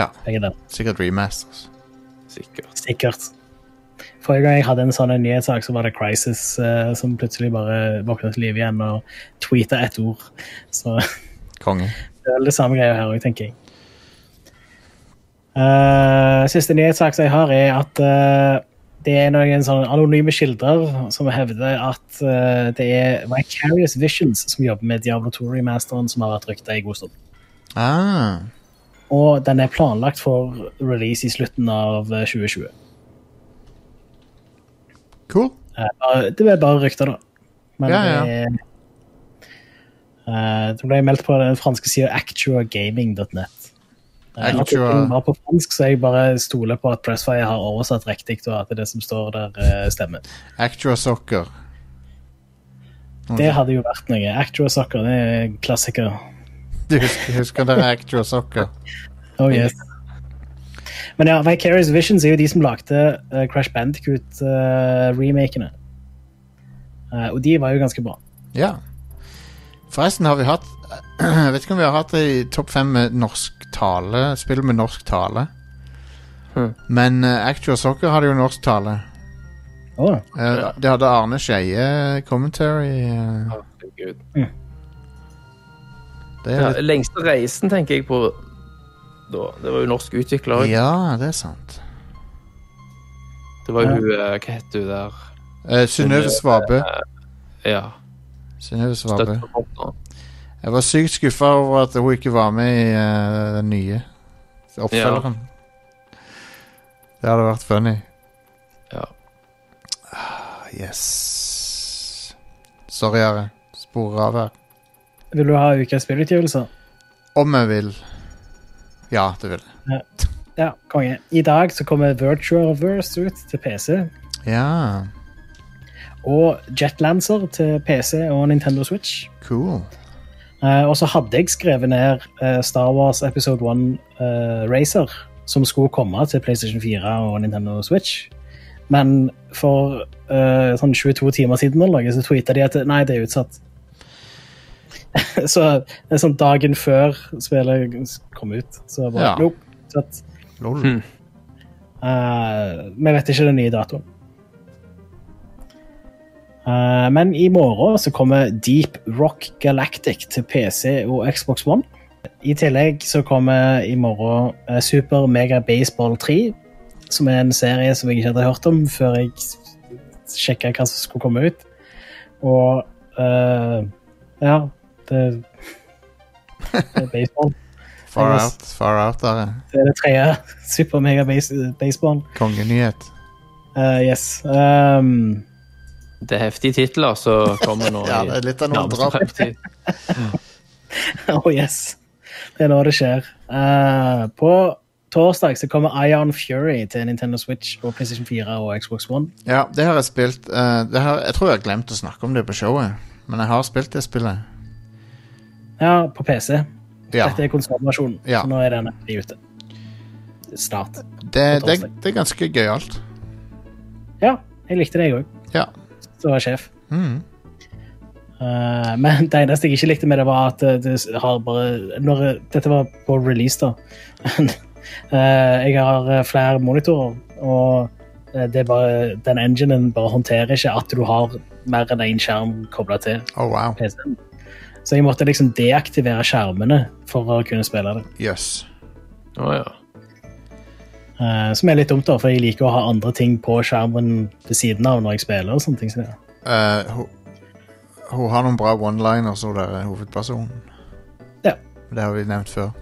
Ja, begge deler. sikkert remasters. Sikkert. Sikkert. Forrige gang jeg hadde en sånn en nyhetssak, så var det Crisis eh, som plutselig bare våknet til liv igjen og tweeta ett ord. Så <laughs> Konge. det er vel det samme greia her òg, tenker jeg. Eh, siste nyhetssak som jeg har, er at eh, det er noen sånne anonyme kilder som hevder at eh, det er Vicarious Visions som jobber med Diablo 2-remasteren, som har vært rykta i god stund. Ah, Og den er planlagt for release i slutten av eh, 2020. cool. Eh, bare- Det er bare rykter, da. Men Ja, ja. det er Eh, Det ble meldt på den franske sida actuagaming.net. Eh, Actua- artikkelen var på fransk, så jeg bare stoler på at Pressfire har oversatt riktig, og at det som står der, eh, stemmer. Actua Soccer. Det hadde jo vært noe. Actua Soccer det er en klassiker. Du husker, husker dere Actua Soccer? Oh, yes. Men ja, Vicarious Visions er jo de som lagde eh, Crash Bandicoot-remakene. Eh, og de var jo ganske bra. Ja. Forresten har vi hatt <clears throat> Jeg vet ikke om vi har hatt det i topp fem med norsk tale. Spill med norsk tale. Hmm. Men eh, Actual Soccer hadde jo norsk tale. Åh, Eh, Ja. Det hadde Arne Skeie commentary. eh, Herregud. Det Ja, er litt, lengste reisen, tenker jeg på da. Det var jo norsk utvikler. ja, det er sant. Det var jo hun eh, Hva het hun der? Eh, Synnøve Svabø. eh, Ja. Synnøve Svabø. Støttepartner. Jeg var sykt skuffa over at hun ikke var med i eh, den nye oppfølgeren. Det hadde vært funny. Ah, Ja. Yes. Sorry, Are. Sporer av her. vil du ha ukas spillutgivelser? Om jeg vil. Ja, det vil jeg. Ja, konge. I dag så kommer Virtualverse ut til PC, Ja, og Jetlancer til PC og Nintendo Switch. cool. Eh, og så hadde jeg skrevet ned eh, Star Wars Episode 1 eh, Racer, som skulle komme til PlayStation 4 og Nintendo Switch. Men for eh, sånn 22 timer siden eller noe, så tweeta de at nei, det er utsatt. <laughs> så det er sånn dagen før spillet kom ut, så bare Ja. nope. Utsatt. Lol. Hmm. Eh, Vi vet ikke den nye datoen. Eh, men i morgen så kommer Deep Rock Galactic til PC og Xbox One. I tillegg så kommer i morgen eh, Super Mega Baseball 3, som er en serie som jeg ikke hadde hørt om før jeg sjekka hva som skulle komme ut. Og eh, ja det, det er baseball. Far Jeg var- out, far out, Are. Det er det tredje. <laughs> Super Mega Base- Baseball. Kongenyhet. Eh, yes. Ehm, <laughs> Det er heftige titler som kommer nå. Ja, i det er litt av noen nærmeste drap. fremtid. oh yes. Det er nå det skjer. Eh, på torsdag så kommer Ion Fury til Nintendo Switch og PlayStation 4 og Xbox One. Ja, det har jeg spilt. eh, det har, jeg tror jeg har glemt å snakke om det på showet, men jeg har spilt det spillet. Ja, på PC. Ja. Dette er konsolversjonen, Ja. så nå er den endelig ute. Snart. Det, på det, torsdag. det er ganske gøyalt. Ja, jeg likte det, jeg òg. Ja. Så var jeg sjef. Mm. Eh, men det eneste jeg ikke likte med det, var at eh, det, det har bare når, eh, Dette var på release, da. <laughs> Eh, jeg har eh, flere monitorer, og eh, det er bare, den enginen bare håndterer ikke at du har mer enn én skjerm kobla til Oh, wow. PC-en. Så jeg måtte liksom deaktivere skjermene for å kunne spille det. Jøss. Yes. Å ja. Eh, som er litt dumt, da, for jeg liker å ha andre ting på skjermen ved siden av når jeg spiller. og sånne ting. Så det. Eh, hun, hun har noen bra one-liners, hun der hovedpersonen. Ja. Det har vi nevnt før.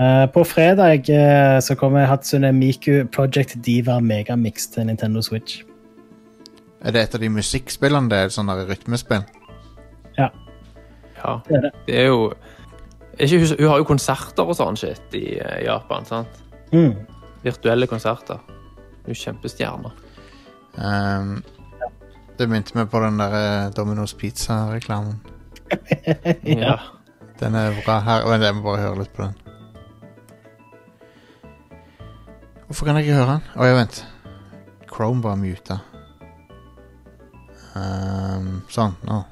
Eh, på fredag eh, så kommer Hatsune Miku Project Diva Megamix til Nintendo Switch. Er det et av de musikkspillene? Det er et sånt der rytmespill? Ja, ja. det er det. Det er jo er ikke, hun, hun har jo konserter og sånn shit i eh, Japan, sant? Mm. Virtuelle konserter. Hun er jo kjempestjerne. Ehm, det minte meg på den der eh, Domino's Pizza-reklamen. Ja. Den er bra her. Vent, jeg må bare høre litt på den. Hvorfor kan jeg ikke høre den? Å ja, vent. Chrome var muta. Ehm, sånn. Nå.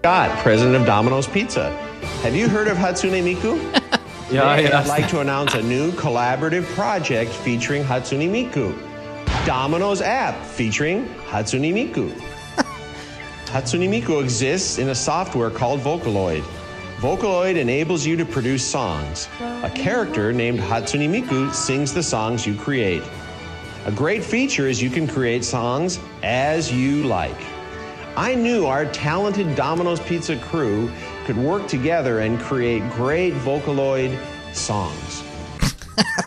Scott, president of Domino's Pizza. Have you heard of Hatsune Miku? ja, Today, ja. I'd like to announce a new collaborative project featuring Hatsune Miku. Domino's app featuring Hatsune Miku. Hatsune Miku exists in a software called Vocaloid. Vocaloid enables you to produce songs. A character named Hatsune Miku sings the songs you create. A great feature is you can create songs as you like. I knew our talented Domino's Pizza crew could work together and create great Vocaloid songs.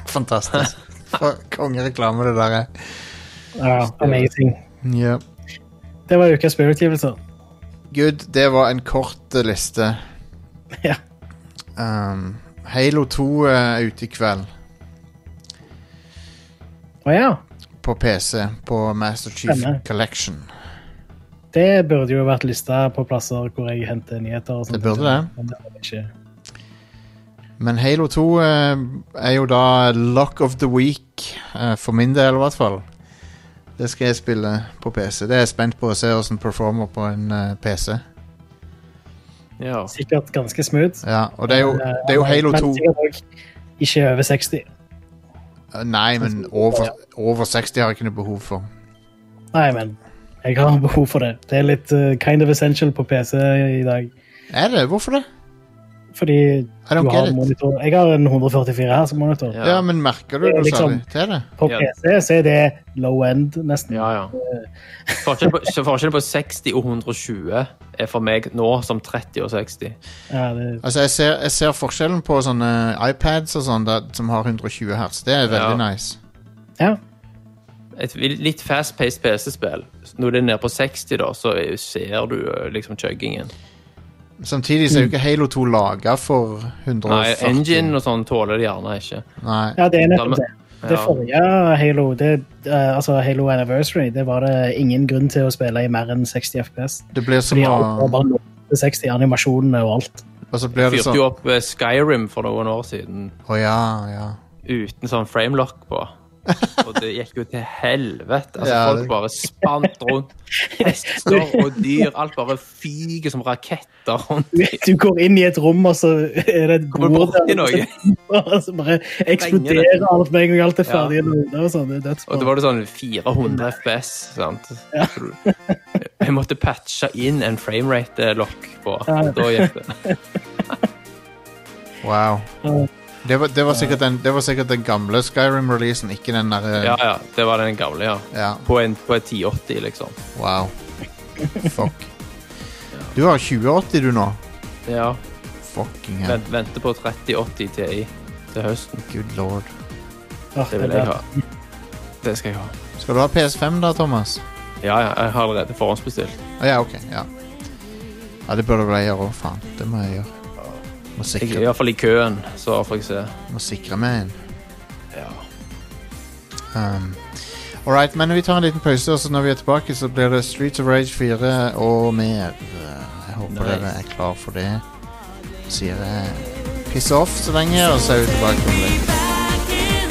Fantastisk. <laughs> For kongereklame, det der er. Ja, amazing. Ja. Det var ukas spillutgivelser. <laughs> Gud, det var en kort eh, liste. Ja. Ehm, Halo 2 er ute i kveld Å ja, på PC på Master Chief Spennende. Collection. det burde jo vært lista på plasser hvor jeg henter nyheter. og sånt. Det burde det. Men det var det ikke. Men Halo 2 eh, er jo da lock of the week, eh, for min del i hvert fall. Det skal jeg spille på PC. Det er jeg spent på å se hvordan performer på en eh, PC. Ja. Sikkert ganske smooth. Ja, og det er jo, Eh, det er jo Halo men 2 sikkert også Ikke over 60. Eh, Nei, men over, over 60 har jeg ikke noe behov for. Nei, men jeg har behov for det. Det er litt eh, kind of essential på PC i dag. Er det? Hvorfor det? Fordi I don't du har get it. monitor. Jeg har en 144 her som monitor. Ja, men merker du Det er noe liksom- særlig til det? På Ja. PC så er det low end, nesten. Ja, ja. Forskjellen på, så forskjellen på 60 og 120 er for meg nå som 30 og 60. Ja, det, Altså, jeg ser, jeg ser forskjellen på sånne iPads og sånn da- som har 120 hertz. Det er veldig Ja. nice. ja. Et litt fast-paced PC-spill. Når det er nede på 60, da, så er- ser du eh, liksom chuggingen. Samtidig så er jo Mm. ikke Halo 2 laga for 140. Nei, engine og sånn tåler det gjerne ikke. Nei. ja, det er Da- nettopp det. Det ja. forrige Halo, det, eh, altså Halo Anniversary, det var det ingen grunn til å spille i mer enn 60 FPS. Det blir som Fordi å alt var bare nå til 60 animasjonene og alt. <laughs> Og så blir det Fyrte sånn jo Å opp eh, Skyrim for noen år siden ja, ja. uten sånn <laughs> framelock på. Og det gikk jo til helvete. Altså, Ja, det- Folk bare spant <laughs> rundt. Hester og dyr. Alt bare fyker som raketter rundt. Du går inn i et rom, og så er det et Kommer bord borti og så- noe. <laughs> Og så bare eksploderer alt med en gang alt er ferdig. Ja. og det og sånn, det er dødsbra. Og det var det sånn 400 FPS, sant? Så du- Jeg måtte patche inn en framerate-lokk på. Ja. Da gikk det. Wow. Ja. Det var, det, var sikkert den, det var sikkert den gamle Skyrim-releasen, ikke den eh, derre Ja, ja. Det var den gamle, ja. Ja. På en, på en 1080, liksom. Wow. Fuck. Du har 2080 du nå. Ja. Fucking hell. Vent, venter på 3080 TI til høsten. Good lord. Åh, Det vil det jeg der. ha. Det skal jeg ha. Skal du ha PS5 da, Thomas? Ja, ja. Jeg har allerede forhåndsbestilt. Å ja, OK. Ja. ja, det burde vel jeg gjøre òg, faen. Det må jeg gjøre. Må Jeg er i sikre, hvert fall i køen, så får jeg se. må sikre meg en. Ja. Um, all right, men vi tar en liten pause, og så når vi er tilbake, så blir det Streets of Rage 4 og mer. Uh, Jeg håper Nice. dere er klar for det. Sier jeg piss off så lenge, og så er vi tilbake om litt.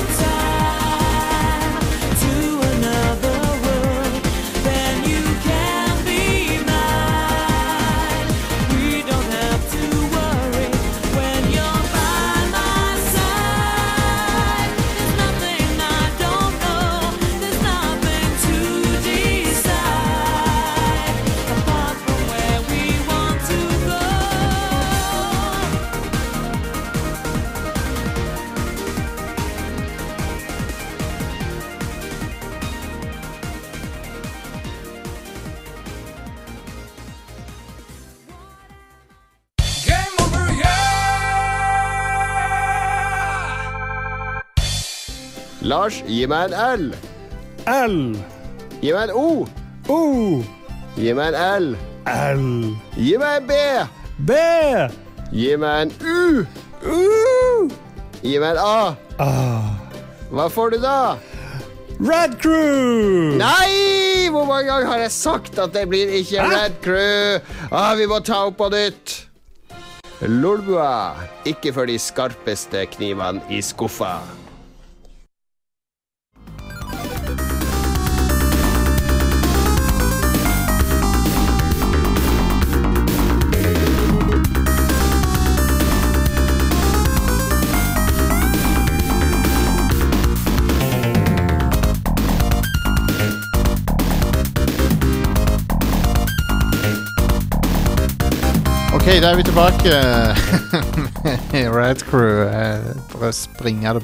Game over here! Lars, gi meg en L. L. Gi meg en O. O. Gi meg en L. L. Gi meg en B. B. Gi meg en U. U. Gi meg en A. Hva får du da? Red Crew. Nei! Hvor mange ganger har jeg sagt at det blir ikke Hæ? Red Crew? Ah, vi må ta opp på nytt. Lolbua. Ikke for de skarpeste knivene i skuffa. OK, da er vi tilbake. <laughs> Red Crew. Jeg bare springer det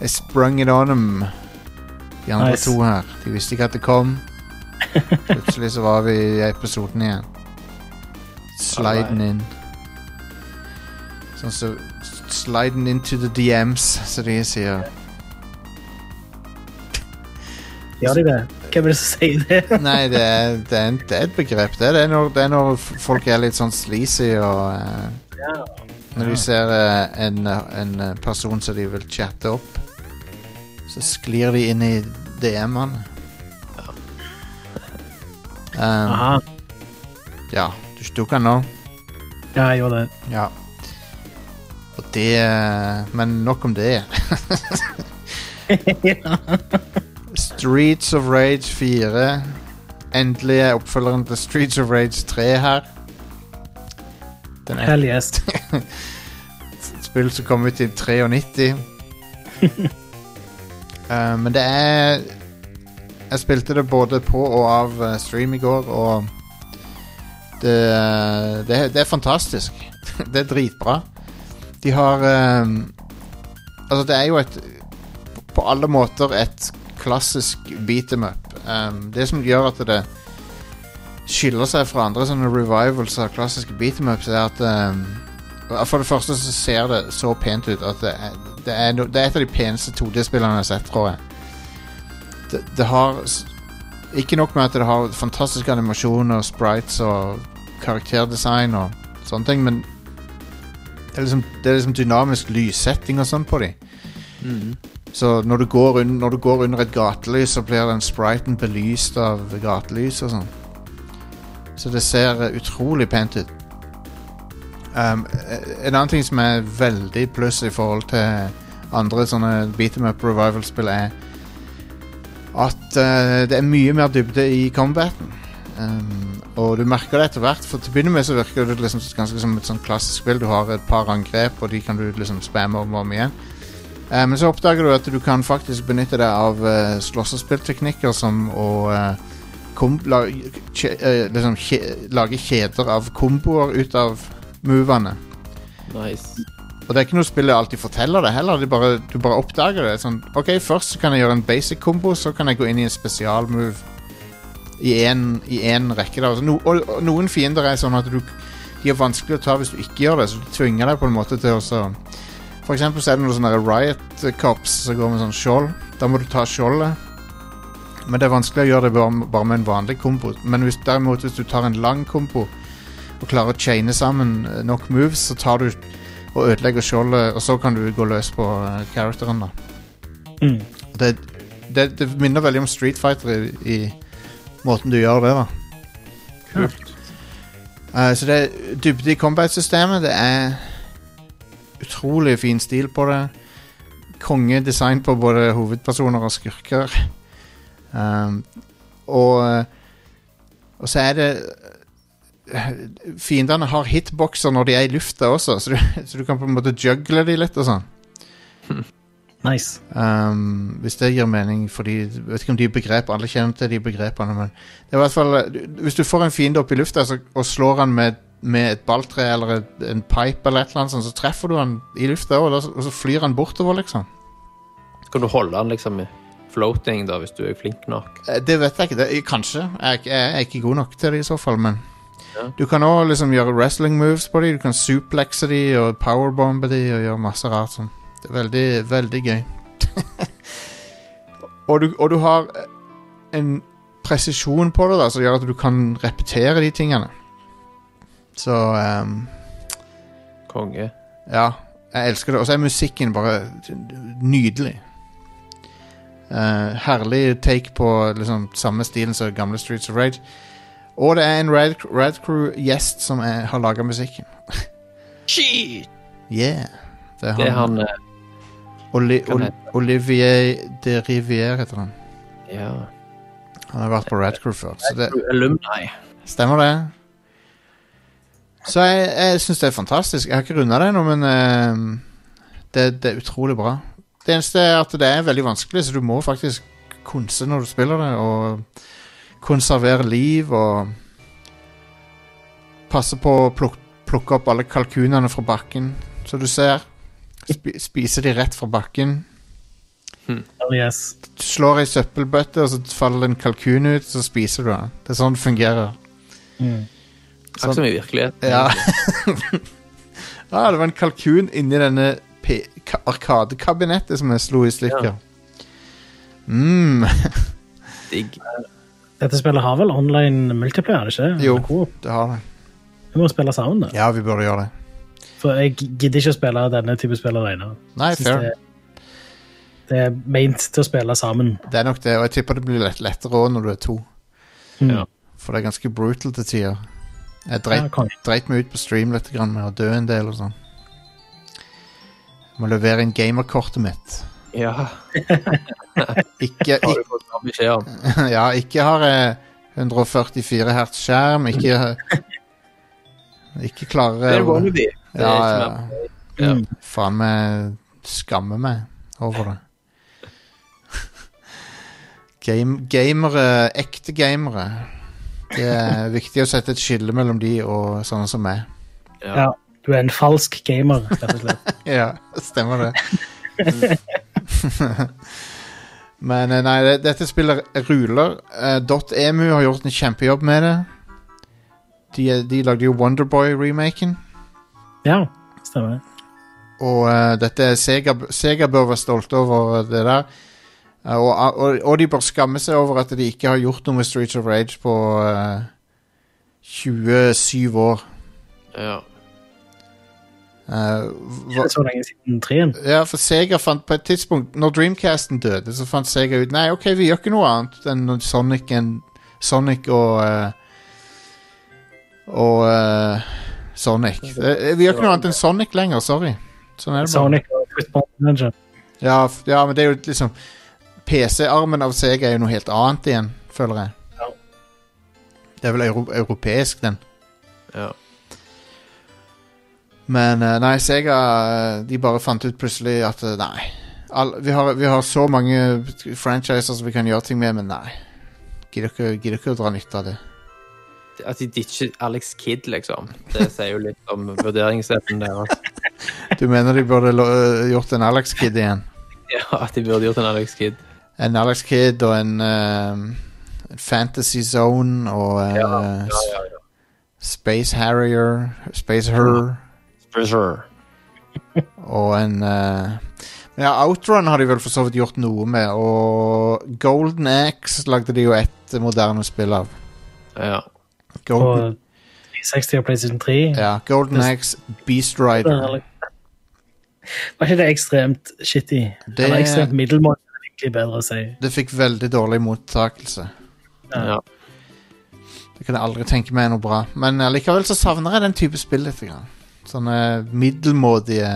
Jeg sprung it on them. De andre Nice. to her. De visste ikke at det kom. Plutselig så var vi i episoden igjen. Slide den inn. Sånn så Slide den into the DMs, som de sier. Gjør de det? Hvem er det som sier det? Nei, det er, det er, en, det er et begrep. Det er, det, er når, det er når f- folk er litt sånn sleazy og eh, Når de ser eh, en, eh, en eh, person som de vil chatte opp, så sklir de inn i DM-ene. Um, Aha. ja, du tok den nå. Ja, jeg gjorde det. Ja. Og Det eh, Men nok om det. <laughs> Streets of Rage 4. Endelig er oppfølgeren til Streets of Rage 3 her. Den er Hell <laughs> yes. et spill som kom ut i 93. Eh, men det er Jeg spilte det både på og av eh, stream i går, og det, eh, det, er- det er fantastisk. <laughs> det er dritbra. De har eh, Altså, det er jo et På alle måter et klassisk beat em up. Eh, det som gjør at det skiller seg fra andre sånne revivals av klassiske beat em ups, er at eh, ja, For det første så ser det så pent ut at det er, det er, no, det er et av de peneste 2D-spillene jeg har sett, tror jeg. Det, det har s- Ikke nok med at det har fantastiske animasjoner, sprites og karakterdesign og sånne ting, men det er liksom, det er liksom dynamisk lyssetting og sånn på de. Så når du, går un, når du går under et gatelys, så blir den spriten belyst av gatelys og sånn. Så det ser eh, utrolig pent ut. Um, eh, en annen ting som er veldig pluss i forhold til andre sånne beat em up revival-spill, er at eh, det er mye mer dybde i combaten. Um, og du merker det etter hvert, for til å begynne med så virker det liksom ganske som et sånn klassisk spill. Du har et par angrep, og de kan du liksom spamme om og om igjen. Eh, men så oppdager du at du kan faktisk benytte deg av uh, slåssespillteknikker som å eh, kom, la, kje, eh, liksom, kje, lage kjeder av komboer ut av movene. Nice. Og det er ikke noe spillet alltid forteller det heller. Det bare, du bare oppdager det. Sånn, ok, Først så kan jeg gjøre en basic kombo, så kan jeg gå inn i en spesialmove i én i en rekke. Da. Så No, og, og noen fiender er sånn at du, de er vanskelig å ta hvis du ikke gjør det, så du tvinger deg på en måte til å så- For eksempel så er det noen sånne riot cops som går med sånn skjold. Da må du ta skjoldet. Men det er vanskelig å gjøre det bare, bare med en vanlig kombo. Men hvis, derimot hvis du tar en lang kombo og klarer å chaine sammen eh, nok moves, så tar du og ødelegger skjoldet, og så kan du gå løs på eh, characteren, da. Mm. Det, det, det minner veldig om Street Fighter i, i måten du gjør det, da. Kult. Eh, så det er dybde i combat-systemet. Det er utrolig fin stil på det. Kongedesign på både hovedpersoner og skurker. Um, og eh, Og så er det eh, Fiendene har hitboxer når de er i lufta også, så du, <laughs> så du kan på en måte juggle de litt og sånn. Nice. Um, hvis det gir mening, fordi jeg vet ikke om de er begrep alle kjenner til de begrepene, men det er i hvert fall du- Hvis du får en fiende opp i lufta så, og slår han med, med et balltre eller et, en pipe eller et eller annet sånt, så treffer du han i lufta, og, da- og så flyr han bortover, liksom. Så kan du holde den liksom i floating, da, hvis du er flink nok. Eh, Det vet jeg ikke. Det, kanskje. Jeg, er ikke- jeg er ikke god nok til det i så fall, men Ja. Du kan òg liksom gjøre wrestling moves på dem. Du kan suplexe dem og powerbombe dem og gjøre masse rart sånn. Det er veldig, veldig gøy. <laughs> og, du, og du har eh, en presisjon på det da som gjør at du kan repetere de tingene. Så ehm, Konge. ja, jeg elsker det. Og så er musikken bare nydelig. Eh, herlig take på liksom samme stilen som gamle Streets of Rage. Og det er en Rad, Rad Crew-gjest som er, har laga musikken. Shit! Yeah. Det er han. Det er han eh, Oli, Hva Ol, heter Olivier de Rivière heter han. Ja. Han har vært på Rad Crew før. Så det, Alumni. Stemmer det. Så jeg, jeg syns det er fantastisk. Jeg har ikke runda det ennå, men ehm, det, det er utrolig bra. Det eneste er at det er veldig vanskelig, så du må faktisk konse når du spiller det, og konservere liv og Passe på å pluk plukke opp alle kalkunene fra bakken, som du ser. Spi spise de rett fra bakken Hell yes. slår ei søppelbøtte, og så faller en kalkun ut, så spiser du den. Det er sånn det fungerer. Akkurat som i virkeligheten. Ja. <laughs> ah, det var en kalkun inni denne P- ka- arkadekabinettet som jeg slo i stykker. Mm. Digg. Dette spillet har vel online multiplayer, er det ikke? Jo. Coop. Det har det. Vi må spille sammen, da. Ja, vi burde gjøre det. For jeg gidder ikke å spille denne type spill alene. Nei, Synes fair. Det, det er meint til å spille sammen. Det er nok det, og jeg tipper det blir lett, lettere òg når du er to. Mm. Ja. For det er ganske brutal til tider. Jeg Ja, dreit, konge. dreit meg ut på stream litt grann med å dø en del og sånn. Må levere inn gamerkortet mitt. Ja, Ikke, <laughs> har du fått klar beskjed om. <laughs> Ja, ikke har jeg 144 hertz skjerm, <laughs> ikke Ikke Det er klarer å wannabe. Det er ikke Ja, mer- ja. ja. Faen meg skammer meg over det. Game, gamere, ekte gamere. Det er viktig å sette et skille mellom de og sånne som meg. Ja. Ja, du er en falsk gamer, rett <laughs> og slett. Ja, stemmer det. <laughs> Men eh, nei, det- dette spillet ruler. Eh, .emu har gjort en kjempejobb med det. De, de lagde jo Wonderboy-remaken. Ja, stemmer. Og eh, dette er Sega, Sega bør være stolte over det der. Eh, og, og, og de bør skamme seg over at de ikke har gjort noe med Streets of Rage på eh, 27 år. Ja. Eh, Det hva, er så lenge siden treen. Ja, for Sega fant på et tidspunkt Når Dreamcasten døde, så fant Sega ut Nei, ok, vi gjør ikke noe annet enn Sonic, enn Sonic og eh, Og eh, Sonic. Eh, Vi gjør ikke noe annet enn Sonic lenger, sorry. Sånn er det bare. Sonic og Football Manager. Ja, f- ja, men det er jo liksom PC-armen av Sega er jo noe helt annet igjen, føler jeg. Ja. Det er vel euro europeisk, den. Ja. Men eh, nei, Sega eh, De bare fant ut plutselig at eh, nei. All, vi, har, vi har så mange franchiser som vi kan gjøre ting med, men nei. Gidder ikke, gidder ikke å dra nytte av det. At de ditcher Alex Kidd, liksom. Det sier jo litt om vurderingsevnen deres. Du mener de burde lo eh, gjort en Alex Kid igjen? <laughs> Ja, at de burde gjort en Alex Kidd. En Alex Kid og en eh, Fantasy Zone og eh, ja, ja. Space Harrier, Space Her <laughs> og en eh, men Ja, Outrun har de vel for så vidt gjort noe med, og Golden Axe lagde de jo ett moderne spill av. Ja. Golden, Og 360 og PlayStation 3. ja, Golden Axe, Beast Rider. Var ikke det ekstremt shitty? Det- Eller ekstremt middelmådig, er det egentlig bedre å si. Det fikk veldig dårlig mottakelse. ja. Det kan jeg aldri tenke meg er noe bra. Men eh, likevel så savner jeg den type spill litt. Grann. Sånne middelmådige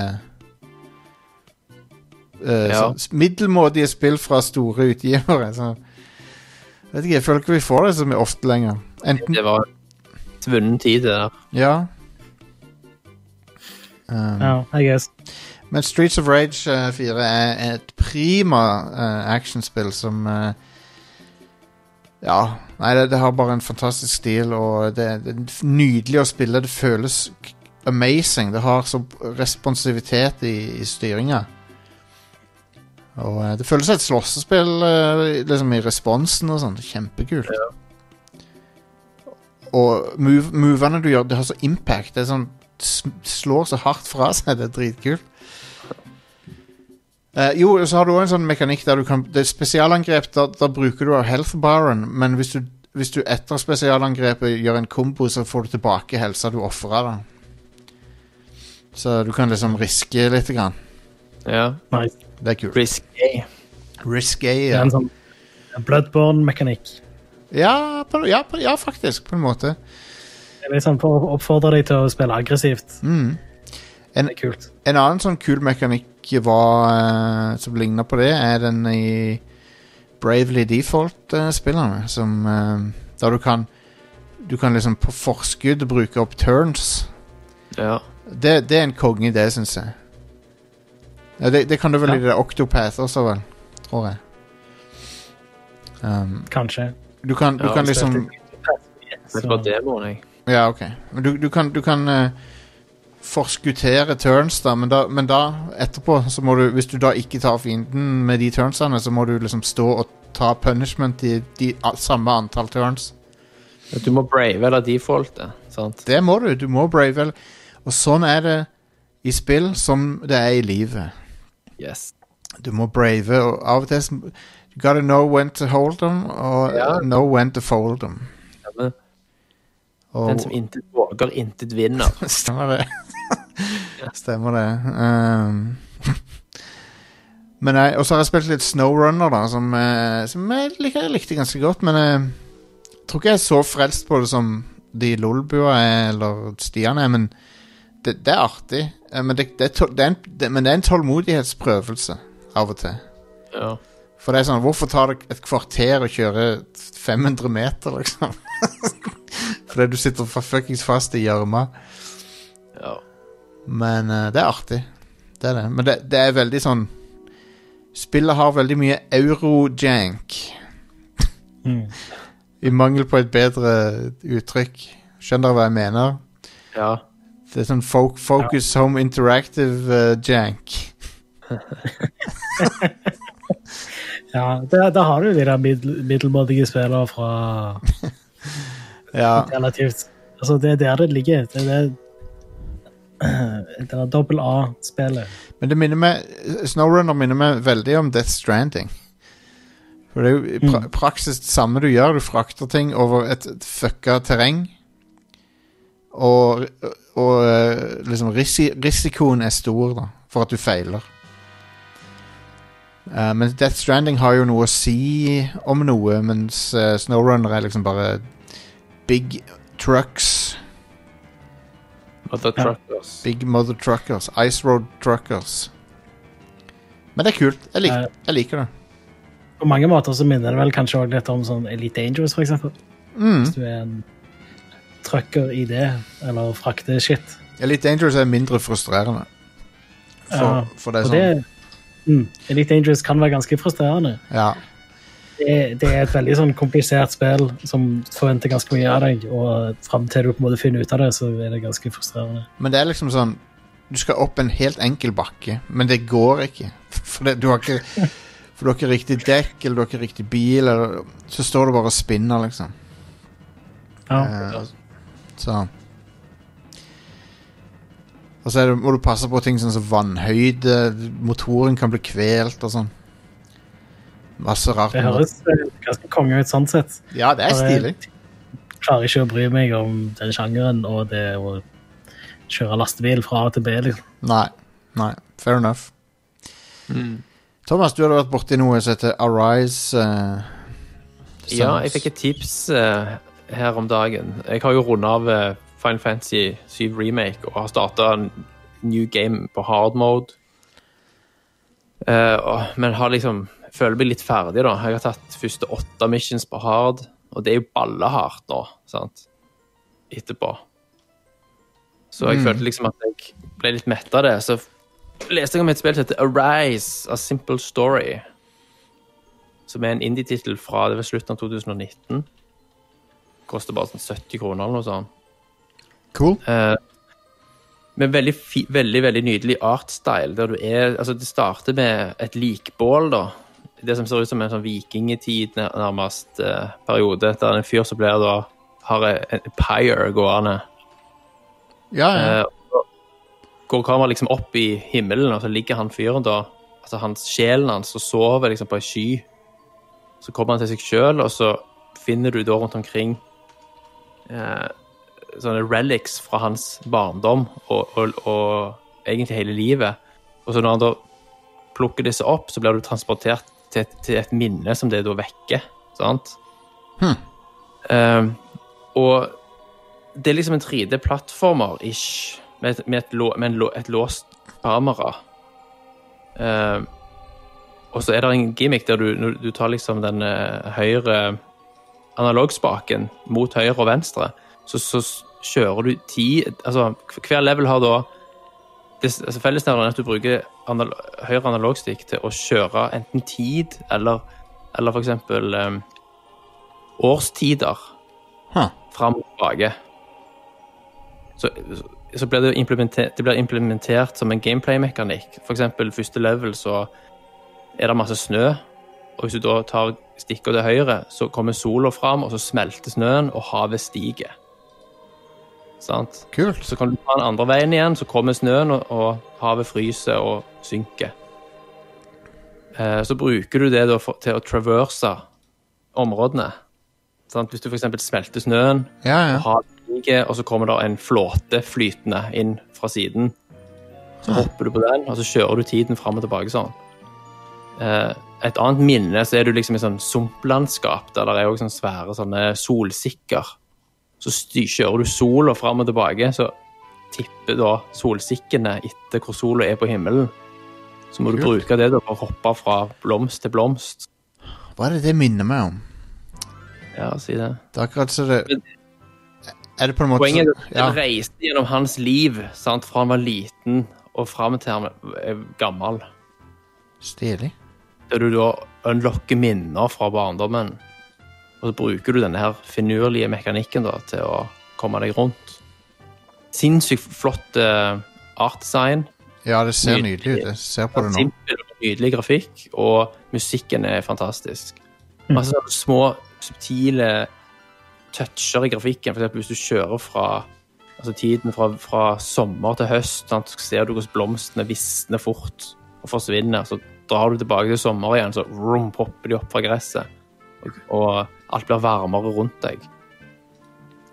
eh, Ja. sånn s- Middelmådige spill fra store utgivere. Så. Vet ikke, Jeg føler ikke vi får det så mye ofte lenger. Enten Det var svunnen tid, det der. Ja. Um, Ja, I guess. Men Streets of Rage eh, 4 er et prima eh, actionspill som eh, Ja. Nei, det, det har bare en fantastisk stil, og det, det er nydelig å spille. Det føles k- amazing. Det har så responsivitet i, i styringa. Og eh, det føles som et slåssespill eh, liksom i responsen og sånn. Kjempekult. Og move, movene du gjør, det har så impact. Det er sånn sm- slår så hardt fra seg. Det er dritkult. Eh, jo, så har du òg en sånn mekanikk der du kan Det er spesialangrep, da, da bruker du av health baren, men hvis du, hvis du etter spesialangrepet gjør en kombo, så får du tilbake helsa du ofra. Så du kan liksom riske litt. Grann. Ja. Nice. Det er kult. Risk A. Riske, Det ja. er en sånn Bloodborne-mekanikk. Ja, på, ja, på, ja, faktisk, på en måte. Det er litt sånn for å oppfordre deg til å spille aggressivt. Mm. En- Det er kult. En annen sånn kul mekanikk var, eh, som ligner på det, er den i Bravely Default-spillerne. Som eh, Der du kan Du kan liksom på forskudd bruke opp turns. Ja. Det, det er en kongeidé, syns jeg. Ja, det, det kan du vel Ja. i det Octopath også, vel. Tror jeg. Um, Kanskje. du kan, du Ja, kan det er liksom Det Så- var demoen, jeg. Ja, ok. Men du, du kan, du kan eh, forskuttere turns, da, men da, men da etterpå så må du Hvis du da ikke tar fienden med de turnsene, så må du liksom stå og ta punishment i de a, samme antall turns. Du må brave eller defaulte, sant? Det må du. Du må brave vel. Og sånn er det i spill som det er i livet. Yes. Du må brave, og av og til så- You gotta know when to hold them, og Ja. know when to fold them. Stemmer. Og- Den som intet våger, intet vinner. <laughs> <laughs> Stemmer det. Stemmer det. Um, men jeg, og så har jeg spilt litt Snowrunner, da, som, eh, som jeg likte, likte ganske godt. Men eh, jeg tror ikke jeg er så frelst på det som de Lolbua er, eller Stian er, men det, det er artig, eh, men det, det, er tå- det, er en, det, men det er en tålmodighetsprøvelse av og til. Ja. For det er sånn, hvorfor tar det et kvarter å kjøre 500 meter, liksom? <laughs> Fordi du sitter fa- fuckings fast i gjørma. ja. Men eh, det er artig. Det er det. Men det, det er veldig sånn Spillet har veldig mye euro-jank. Mm. I mangel på et bedre uttrykk. Skjønner dere hva jeg mener? ja. Det er sånn fo- Focus Home Interactive eh, jank. Ja, da, da har du de der middel, middelmådige spillene fra Ja, relativt Altså, det er der <clears throat> det ligger. Det er det det der dobbel A-spillet. Men det minner meg Snowrunner minner meg veldig om Death Stranding. For det er jo i pra praksis det samme du gjør. Du frakter ting over et, et fucka terreng. Og, og eh, liksom risi risikoen er stor, da, for at du feiler. Eh, men Death Stranding har jo noe å si om noe, mens eh, Snowrunner er liksom bare big trucks. Mother Truckers. Big Mother Truckers. Ice Road Truckers. Men det er kult. Jeg, lik, Eh. jeg liker det. På mange måter så minner det vel kanskje også litt om sånn Elite Dangerous, for eksempel. Mm. Hvis du er en trucker i det, eller frakter shit. Elite Dangerous er mindre frustrerende. For, Ja, for det er Og sånn det mm, Elite Dangerous kan være ganske frustrerende. ja, Det, det er et veldig sånn komplisert spill som forventer ganske mye av deg, og fram til du på en måte finner ut av det, så er det ganske frustrerende. Men det er liksom sånn Du skal opp en helt enkel bakke, men det går ikke. <laughs> For det, du har <laughs> ikke For du har ikke riktig dekk, eller du har ikke riktig bil, eller Så står du bare og spinner, liksom. Ja. Eh, så Og så er det, må du passe på ting sånn som vannhøyde, motoren kan bli kvelt og sånn. Masse rart. Det høres eh, ganske konge ut sånn sett. Ja, det er stilig. Klarer ikke å bry meg om den sjangeren og det å kjøre lastebil fra A til B, liksom. Nei. Nei. Fair enough. Mm. Thomas, du hadde vært borti noe som heter Arise. eh, Ja, Sons. jeg fikk et tips eh, her om dagen. Jeg har jo runda av eh, Final Fantasy 7 Remake og har starta en new game på hard mode. Eh, og, men har liksom føler meg litt ferdig, da. Jeg har tatt første åtte missions på hard, og det er jo ballehardt nå, sant, etterpå. Så jeg følte liksom at jeg ble litt mett av det. Så leste jeg om et spill som heter Arise, A Simple Story som er en indie-tittel fra det var slutten av 2019. Koster bare sånn 70 kroner eller noe sånt. Cool. Eh, men veldig, fi, veldig veldig nydelig artstyle. der du er, altså Det starter med et likbål, da. Det som ser ut som en sånn vikingetid, nær- nærmest, eh, periode. Der en fyr som blir da har en pyre gående. Ja, ja. Eh, og går kameraet liksom opp i himmelen, og så ligger han fyren da Altså hans sjelen hans og sover liksom på ei sky. Så kommer han til seg sjøl, og så finner du da rundt omkring eh, sånne relics fra hans barndom og, og, og egentlig hele livet. Og så når han da plukker disse opp, så blir du transportert til et, til et minne som det da vekker. Sant? Eh, og det er liksom en 3D-plattformer-ish, med, et, med, et, lå- med en, lå- et låst kamera. Eh, og så er det en gimmick der du, når du tar liksom den eh, høyre analogspaken mot høyre og venstre, så, så s- kjører du ti Altså, hv- hver level har da det s- altså Fellesnevneren er at du bruker anal høyre analogstikk til å kjøre enten tid eller, eller for eksempel eh, årstider Huh. fram og tilbake. Så, så blir det, implementert, det blir implementert som en gameplay-mekanikk. For eksempel første level så er det masse snø, og hvis du da tar stikker til høyre, så kommer sola fram, og så smelter snøen, og havet stiger. Sant? Kult. Så kan du ta den andre veien igjen, så kommer snøen, og, og havet fryser og synker. Eh, så bruker du det da for, til å traverse områdene. Sant? Hvis du f.eks. smelter snøen, Ja, ja. havet stiger, og så kommer det en flåte flytende inn fra siden. Så hopper du på den, og så kjører du tiden fram og tilbake sånn. Eh, Et annet minne, så er du liksom i sånn sumplandskap, der det er også sånn sånne svære sånne solsikker. Så sty, kjører du sola fram og tilbake, så tipper da solsikkene etter hvor sola er på himmelen. Så må du Kult. bruke det da for å hoppe fra blomst til blomst. Hva er det det minner meg om? Ja, si det. Det er akkurat så det Er det på en måte Poenget er at ja. den reiste gjennom hans liv, sant, fra han var liten og fram til han er gammel. Stilig. Der du da unlocker minner fra barndommen. Og så bruker du denne her finurlige mekanikken da, til å komme deg rundt. Sinnssykt flott eh, art design. Ja, det ser Nydelig. nydelig ut. Jeg ser på det nå. Simpel og nydelig grafikk, og musikken er fantastisk. Masse sånne små, subtile toucher i grafikken. For eksempel hvis du kjører fra altså tiden fra, fra sommer til høst, sant, så ser du hvordan blomstene visner fort og forsvinner. Så drar du tilbake til sommer igjen, så vroom, popper de opp fra gresset. Og, og alt blir varmere rundt deg.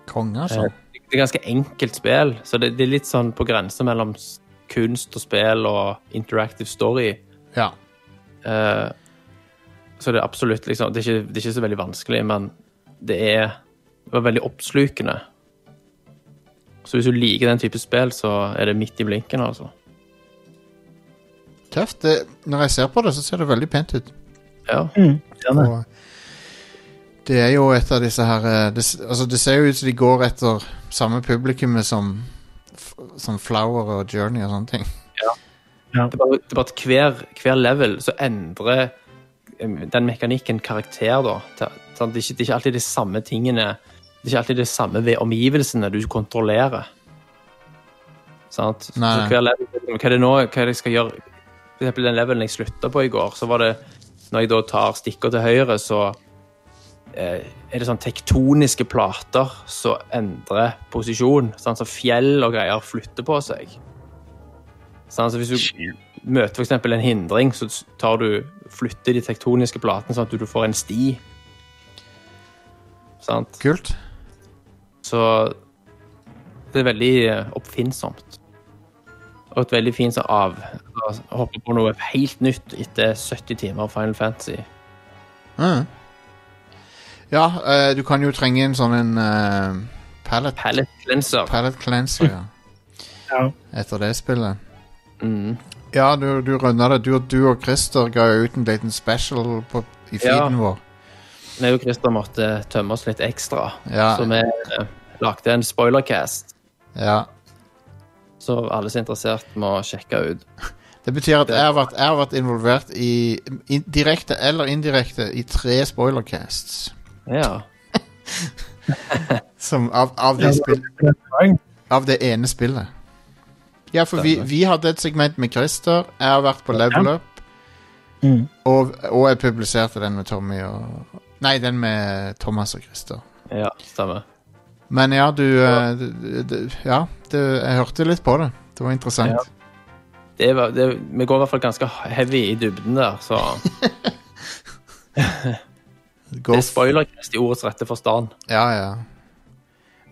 Konge, altså. Det er et ganske enkelt spill, så det, det er litt sånn på grense mellom s- kunst og spill og interactive story. Ja. Eh, så det er absolutt liksom det er, ikke, det er ikke så veldig vanskelig, men det er det var veldig oppslukende. Så hvis du liker den type spill, så er det midt i blinken, altså. Tøft. Det, når jeg ser på det, så ser det veldig pent ut. Ja. Nei. Og det er jo et av disse her eh, det, s- altså det ser jo ut som de går etter samme publikummet som, f- som Flower og Journey og sånne ting. Det er bare, det er bare at hver, hver level så endrer em, den mekanikken karakter, da. Til, sånn, det, er ikke, det er ikke alltid de samme tingene Det er ikke alltid det samme ved omgivelsene du kontrollerer. Sant? Nei. Så hver level Hva er det nå? Hva er det jeg skal gjøre? For eksempel den levelen jeg slutta på i går, så var det Når jeg da tar stikker til høyre, så eh, er det sånn tektoniske plater som endrer posisjon. Sant? Så fjell og greier flytter på seg. Sant? Så hvis du møter f.eks. en hindring, så tar du, flytter de tektoniske platene sånn at du får en sti. Sant? Kult. Så det er veldig eh, oppfinnsomt. Og et veldig fint sånn av altså, Hoppe på noe helt nytt etter 70 timer Final Fantasy. Mm. Ja, eh, du kan jo trenge en sånn en eh, pallet, Palette cleanser. pallet cleanser, ja. Ja. Etter det spillet. Mm. Ja, du, du runda det. Du, og- du og Christer ga jo ut en liten special på, i feeden vår. Jeg og Christer måtte tømme oss litt ekstra, Ja. så vi eh, lagde en spoilercast. Ja. Så alle som er interessert, må sjekke ut. Det betyr at jeg har vært, jeg har vært involvert i in, direkte eller indirekte i tre spoilercasts. Ja. Som av, av, det spill, av det ene spillet. Ja, for vi, vi hadde et segment med Christer. Jeg har vært på Level Up. Mm. Og, og jeg publiserte den med Tommy og Nei, den med Thomas og Christer. ja, stemmer. Men ja, du, eh, du, du Ja, du, jeg hørte litt på det. Det var interessant. Ja. det var, det, vi går i hvert fall ganske heavy i dybden der, <laughs> så Gå det er f- spoilercast i ordets rette forstand. Ja, ja.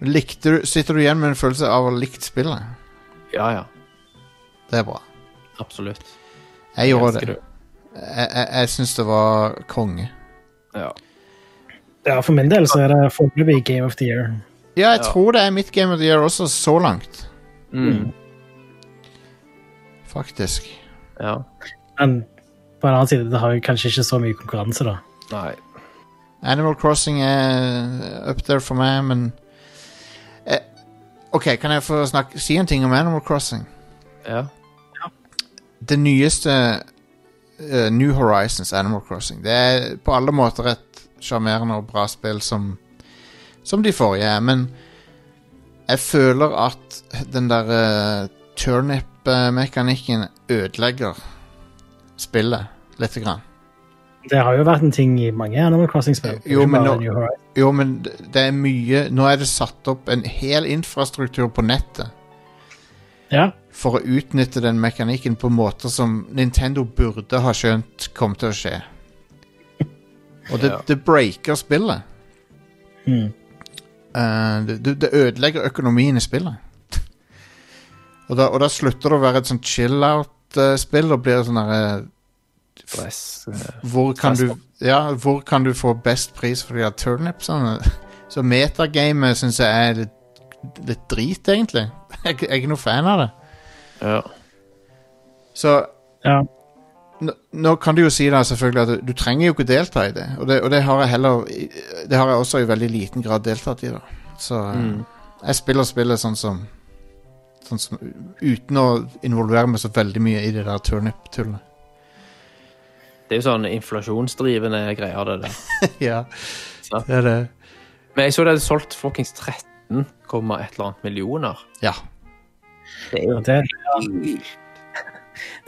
Likte du, sitter du igjen med en følelse av å ha likt spillet? Ja, ja. Det er bra. Absolutt. Jeg gjorde Elsker det. Jeg, jeg, jeg syns det var konge. Ja. Ja, for min del så er det foreløpig Game of the Year. Ja, jeg Ja. tror det er mitt game of the year også, så langt. Mm. Faktisk. ja. Men på en annen side, det har jo kanskje ikke så mye konkurranse, da. Nei. Animal Crossing er up there for meg, men eh, OK, kan jeg få snakke, si en ting om Animal Crossing? Ja. det nyeste eh, New Horizons Animal Crossing Det er på alle måter et sjarmerende og bra spill som, som de forrige er, men jeg føler at den der eh, turnip-mekanikken ødelegger spillet lite grann. Det har jo vært en ting i mange Animal Crossing-spill. Jo, ikke men bare nå- New Horizons. Jo, men d- det er mye Nå er det satt opp en hel infrastruktur på nettet Ja, for å utnytte den mekanikken på måter som Nintendo burde ha skjønt kom til å skje. Og det, Ja. Hmm. det breaker spillet. Mhm. Eh, det, det- det ødelegger økonomien i spillet. <laughs> og, da, og da slutter det å være et sånn chill-out-spill og blir sånn herre Stress. eh, hvor kan Fast du Ja, hvor kan du få best pris for de her <laughs> turnipsene? Så metagamet syns jeg er litt, litt drit, egentlig. <laughs> Jeg, jeg er ikke noe fan av det. Ja. Så Ja. nå, nå kan du jo si da selvfølgelig at du trenger jo ikke delta i det, og det, og det har jeg heller Det har jeg også i veldig liten grad deltatt i, da. Så eh, jeg spiller spillet sånn som Sånn som Uten å involvere meg så veldig mye i det der turnip-tullet. <laughs> Det er jo sånn inflasjonsdrivende greier, det der. ja, Så. det er det. Men jeg så det hadde solgt fuckings 13, komma et eller annet millioner. Ja. Og Det,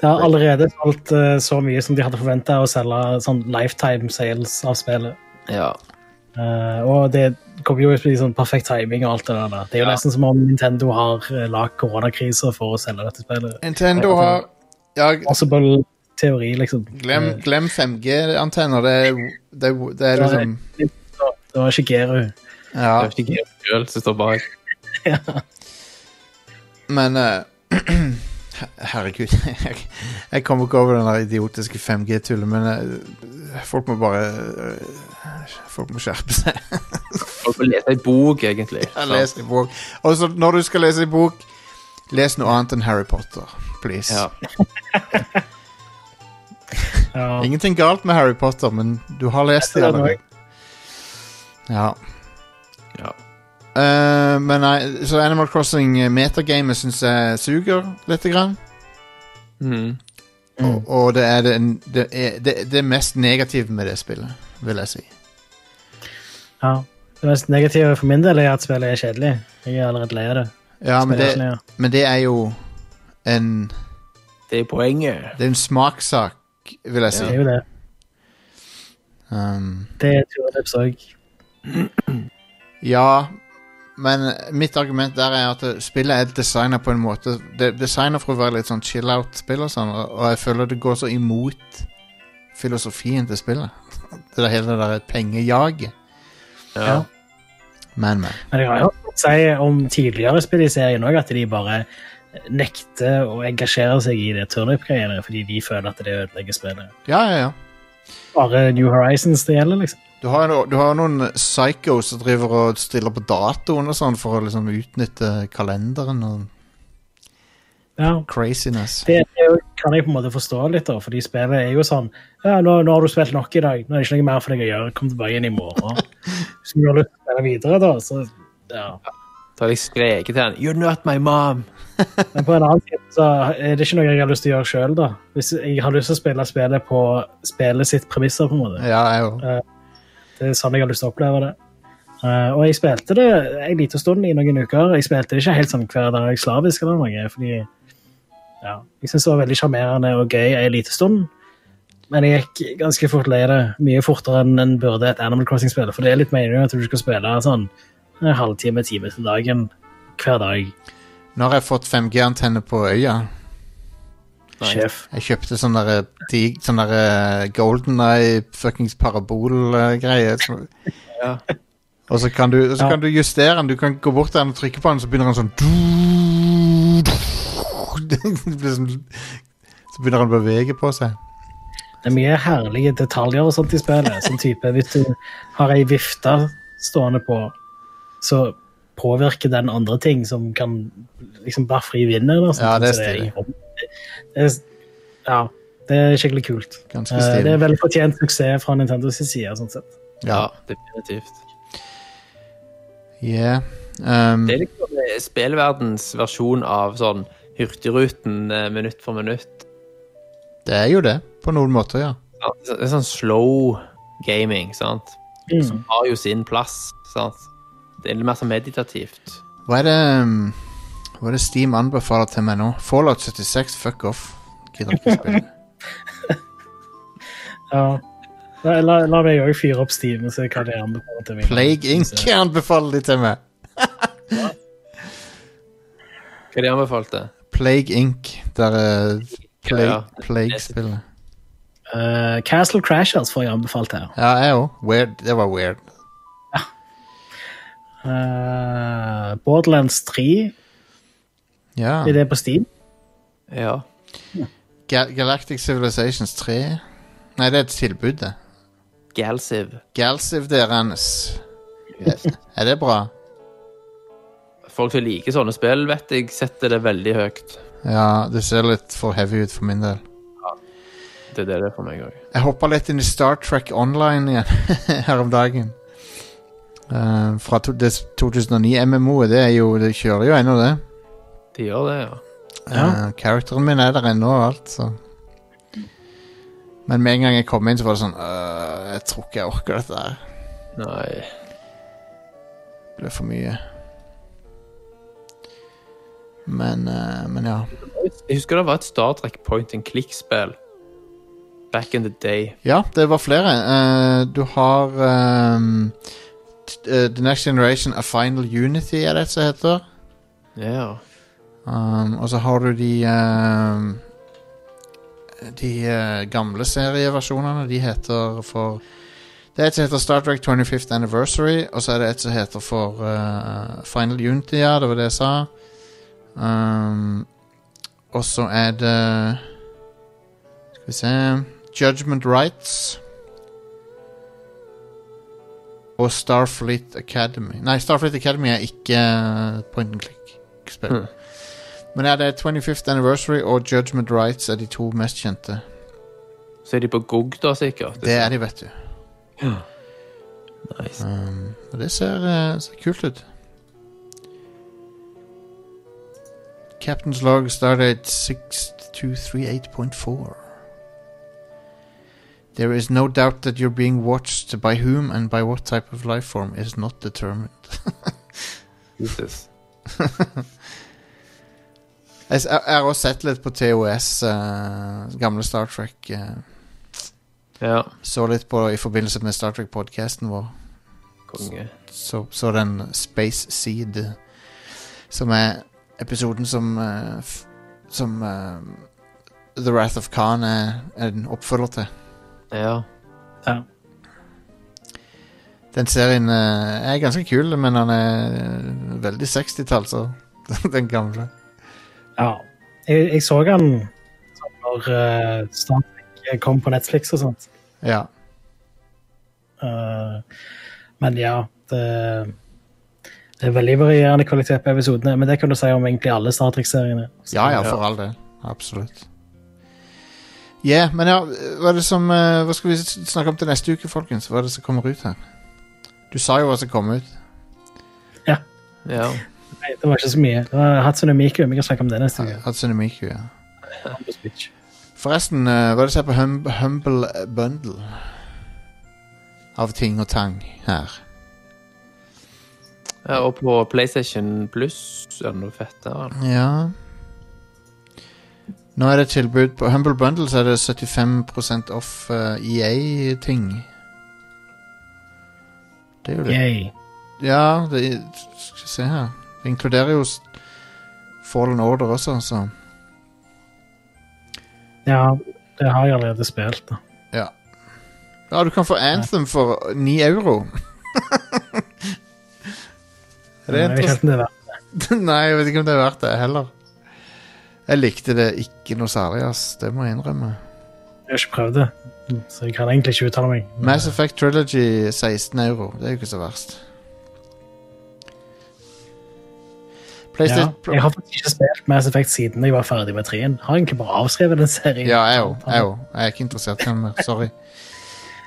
det har allerede solgt eh, så mye som de hadde forventa å selge sånn lifetime sales av spillet. Ja. Eh, og det kommer jo i sånn perfekt timing og alt det der. Det er jo Ja. nesten som om Nintendo har eh, lagd koronakrisa for å selge dette spillet. Nintendo har ja, Possible teori, liksom. glem, Eh, glem 5G-antenner. Det, er- det, er- det er liksom Det var ikke Geru. Ja. Det er ikke Georg selv som står bak. Men eh, <clears throat> her- Herregud, <laughs> jeg, jeg kommer ikke over den der idiotiske 5G-tullet, men eh, folk må bare eh, Folk må skjerpe <laughs> seg. Og så lese ei bok, egentlig. Jeg leser en bok. Og så når du skal lese en bok, les noe annet enn Harry Potter. Please. Ja. Ja. Ingenting galt med Harry Potter, men du har lest det Jeg ser den allerede. Ja. Ja. Eh, men nei, så Animal Crossing eh, metagamet syns jeg suger lite grann. Mm. Og, og det er det, det, er, det, det mest negative med det spillet, vil jeg si. ja. Det mest negative for min del er at spillet er kjedelig. Jeg er allerede lei av det. Ja, men Spillet er det, kjedelig, ja. men det er jo en Det er poenget. Det er en smakssak, vil jeg si. Det er jo det. Um, Det er turnips òg. ja, men mitt argument der er at det- spillet er designet på en måte Det er designet for å være litt sånn chill-out-spill og sånn, og og jeg føler det går så imot filosofien til spillet. <laughs> Det der hele det der pengejaget. Ja. Men, men. Men jeg har jo hørt si om tidligere spill i serien òg at de bare nekter å engasjere seg i det turnip-greiene fordi de føler at det ødelegger spillet. Ja, ja, ja. Bare New Horizons det gjelder, liksom. Du har, jo- du har jo noen psychos som driver og stiller på datoen og sånn for å liksom utnytte kalenderen og Ja. craziness. Det, det er jo- kan jeg på en måte forstå litt, da, fordi spillet er jo sånn ja, nå, 'Nå har du spilt nok i dag. Nå er det ikke noe mer for deg å gjøre. Kom tilbake igjen i morgen.' Hvis du har lyst til å spille videre, da, så ja. Da har jeg skreket til han You're not my mom. Men på en annen side så er det ikke noe jeg har lyst til å gjøre sjøl, da. Hvis jeg har lyst til å spille spillet på spillet sitt premisser, på en måte. Ja, jeg jo. Det er sånn jeg har lyst til å oppleve det. Eh, og jeg spilte det en liten stund i noen uker. Jeg spilte det ikke helt sånn hver dag slavisk eller noe, fordi ja, jeg syns det var veldig sjarmerende og gøy en liten stund. Men jeg gikk ganske fort lei det, mye fortere enn en burde et Animal Crossing-spill. For det er litt meningen at du skal spille sånn en halvtime, time til dagen hver dag. Nå har jeg fått 5G-antenne på øya. Sjef. Jeg kjøpte sånn derre dig- sånn der Golden Eye fuckings parabol-greie. som- Ja. Og så kan du, og så Ja. kan du justere den. Du kan gå bort til den og trykke på den, så begynner den sånn <laughs> Det blir sånn- Så begynner den å bevege på seg. Det er mye herlige detaljer og sånt i spillet. Sånn type, Hvis du har ei vifte stående på, så påvirker den andre ting som kan liksom bare fri vind eller noe sånt. Ja, det er Så stilig. Det er, ja, det er skikkelig kult. Ganske Eh, Det stilig. er vel fortjent suksess fra Nintendo sin side. sånn sett. Ja, Ja. definitivt. Yeah. Um, Det er liksom eh, spillverdens versjon av sånn Hurtigruten eh, minutt for minutt. det er jo det, på noen måter, ja. Ja, Det er sånn slow gaming, sant. Mm. Har jo sin plass, sant. Det er litt mer sånn meditativt. Hva er det um, Hva er det Steam anbefaler til meg nå? Fallout 76, fuck off. Gidder ikke <laughs> spille. Ja. La, la, la meg òg fyre opp Steam og se hva det anbefaler til meg. Plague Inc. <laughs> anbefaler de til meg! Hva de anbefalte? Plague Inc. Der er Ja, Plague, ja. Plague-spillet. Eh, Castle Crashers får jeg anbefalt her. Ja, jeg òg. Det var weird. Eh, Borderlands 3 Ja. er det på Steam. Ja. Ga Galactic Civilizations 3. Nei, det er et tilbud, det. Galsiv. <laughs> Galsiv deres. Er, er det bra? folk som liker sånne spill, vet jeg, setter det veldig høyt. Ja, det ser litt for heavy ut for min del. Det er det det er for meg òg. Jeg hoppa litt inn i Star Trek Online igjen <laughs> her om dagen. Eh, fra to, det, 2009. MMO-et, det er jo Det kjører jo ennå, det. De gjør det, ja. Ja. karakteren min er der ennå og alt, så Men med en gang jeg kom inn, så var det sånn «Øh, Jeg tror ikke jeg orker dette her. Nei. Det ble for mye. Men, eh, men ja. Jeg husker det var et Star Trek point and click-spill back in the day. Ja, det var flere. Eh, du har ehm, t- eh, The Next Generation A Final Unity, er det det som heter. Ja. Um, og så har du de ehm, De eh, gamle serieversjonene. De heter for Det er et som heter Star Trek 25th Anniversary, og så er det et som heter for eh, Final Unity, ja, det var det jeg sa. Um, og så er det Skal vi se Judgment Rights. Og Starfleet Academy. Nei, Starfleet Academy er ikke eh, point and click-spill. Hmm. Men ja, det er 25th Anniversary og Judgment Rights er de to mest kjente. Så er de på GOG, da, sikkert. Det er de, vet du. <gasps> Nice. Um, og det ser, eh, ser kult ut. Captain's log started 6238.4. There is no doubt that you're being watched by whom and by what type of life form is not determined. <laughs> Jesus. Jeg s- jeg jeg har også sett litt på TOS, eh, gamle Star Trek. eh, Ja. så litt på i forbindelse med Star Trek-podkasten vår. Konge. så, så den Space Seed, som er episoden som eh, f Som eh, The Wrath of Khan er en oppfølger til. Ja. Den serien eh, er ganske kul, men han er eh, veldig 60-tall, så <laughs> den gamle. Ja. Jeg, jeg så han sånn når eh, Star Trek kom på Netflix og sånt. Ja. Eh, men ja, det, det er veldig varierende kvalitet på episodene. Men det kan du si om egentlig alle Star Trek-seriene. Så- ja, ja, for all del. Absolutt. Ja, men ja, hva er det som eh, Hva skal vi s- snakke om til neste uke, folkens? Hva er det som kommer ut her? Du sa jo hva som kom ut. Ja. Nei, Det var ikke så mye. Det var Hatsune Miku. Vi kan snakke om det neste uke. Hatsune Miku, ja. På Switch. Forresten, eh, hva er det som er på hum Humble Bundle? Av ting og tang her. ja. Og på PlayStation Plus er det noe fettere. Ja Nå er det tilbud på Humble Bundle, så er det 75 off eh, EA-ting. Det er jo det. Yay. Ja, det skal vi se her. Det inkluderer jo s- Fallen Order også, så Ja, det har jeg allerede spilt. da. Ja. Ja, du kan få Anthem for 9 euro. er <laughs> det Jeg vet ikke interessant? helt om det er verdt. <laughs> Nei, jeg vet ikke om det er verdt det heller. Jeg likte det ikke noe særlig, ass. Det må jeg innrømme. Jeg har ikke prøvd det, mm, så jeg kan egentlig ikke uttale meg. Mass Effect Trilogy 16 euro. Det er jo ikke så verst. Ja, PlayStation jeg har faktisk ikke spilt Mass Effect siden jeg var ferdig med trien. Har egentlig bare avskrevet den serien. Ja, jeg òg. Jeg, òg. jeg er ikke interessert i den mer. Sorry.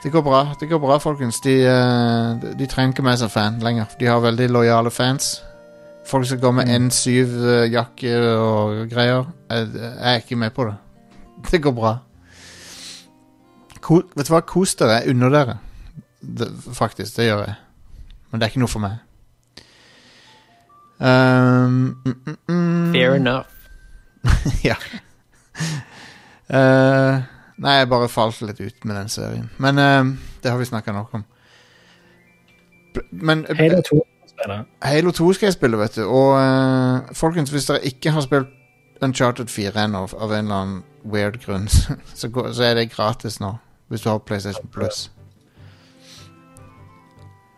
Det går bra, det går bra folkens. De, eh, de- de trenger ikke meg som fan lenger. De har veldig lojale fans. Folk som går med N7-jakke og greier. Jeg, jeg er ikke med på det. <laughs> Det går bra. Ko, vet du hva? Kos dere. Jeg unner dere. Det, faktisk. Det gjør jeg. Men det er ikke noe for meg. Um, mm, mm, mm. Fair enough. Eh, nei, jeg bare falt litt ut med den serien. Men eh, det har vi snakka nok om. B- Men eh, Halo 2 spiller. Halo 2 skal jeg spille, vet du. Og eh, folkens, hvis dere ikke har spilt Uncharted 4 ennå, av en eller annen weird grunn, <laughs> så, går, så er det gratis nå. Hvis du har PlayStation Plus.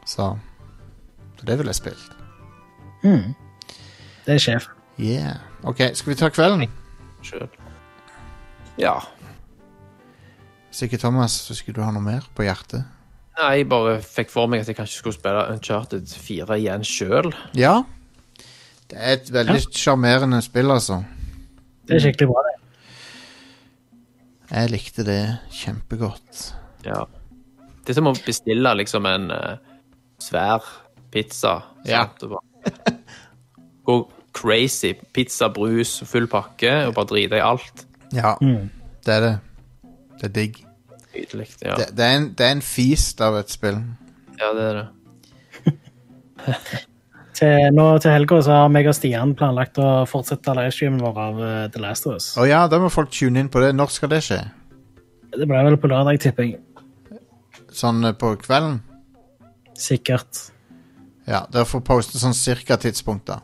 Så Så det vil jeg spille. Det er sjef. Yeah. OK, skal vi ta kvelden? Sjøl. Ja. Hvis ikke, Thomas, så skulle du ha noe mer på hjertet. Nei, jeg bare fikk for meg at jeg kanskje skulle spille Uncharted 4 igjen sjøl. Ja. Det er et veldig sjarmerende spill, altså. Det er skikkelig bra, det. Jeg likte det kjempegodt. Ja. Det er som å bestille liksom en eh, svær pizza. Ja. sant, og bare <laughs> Gå crazy. Pizza, brus, full pakke, og bare drite i alt. Ja, det er det. Det er digg. Nydelig. Ja. Det, det, er en, det er en feast av et spill. ja, det er det. Til, nå til helga så har meg og Stian planlagt å fortsette livestreamen vår av eh, The Last of Us. Å ja, da må folk tune inn på det. Når skal det skje? Det ble vel på lørdag, tipper jeg. Sånn eh, på kvelden? Sikkert. Ja, dere får poste sånn cirka tidspunkt, da.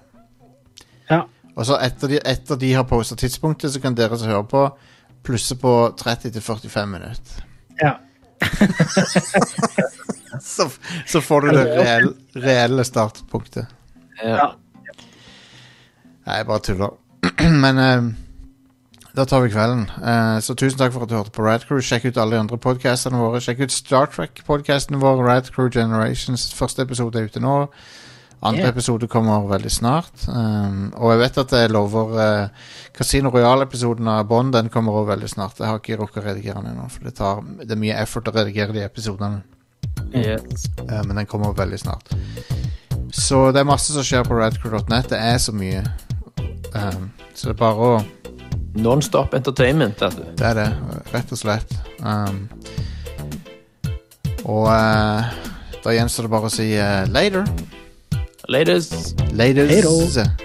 Ja. Og så etter de, etter de har posta tidspunktet, så kan dere som hører på, plusse på 30-45 minutter. ja. Så, så får du det reelle, reelle startpunktet. Ja. Nei, jeg bare tuller. <clears throat> Men eh, da tar vi kvelden. Eh, så tusen takk for at du hørte på Radcrew. Sjekk ut alle de andre podkastene våre. Sjekk ut Star Trek-podkasten vår, Radcrew Generations. Første episode er ute nå. Andre Yeah. episode kommer veldig snart. Um, og jeg vet at jeg lover eh, Casino Royal-episoden av Bond den kommer også veldig snart. Jeg har ikke rukket å redigere den ennå, for det, tar, det er mye effort å redigere de episodene. Yes. Eh, men den kommer veldig snart. Så det er masse som skjer på radcrew.net. Det er så mye. Um, så det er bare å Nonstop entertainment. dette. Det er det, rett og slett. Um, og eh, da gjenstår det bare å si eh, later. Ladies. Laters. Hejdå.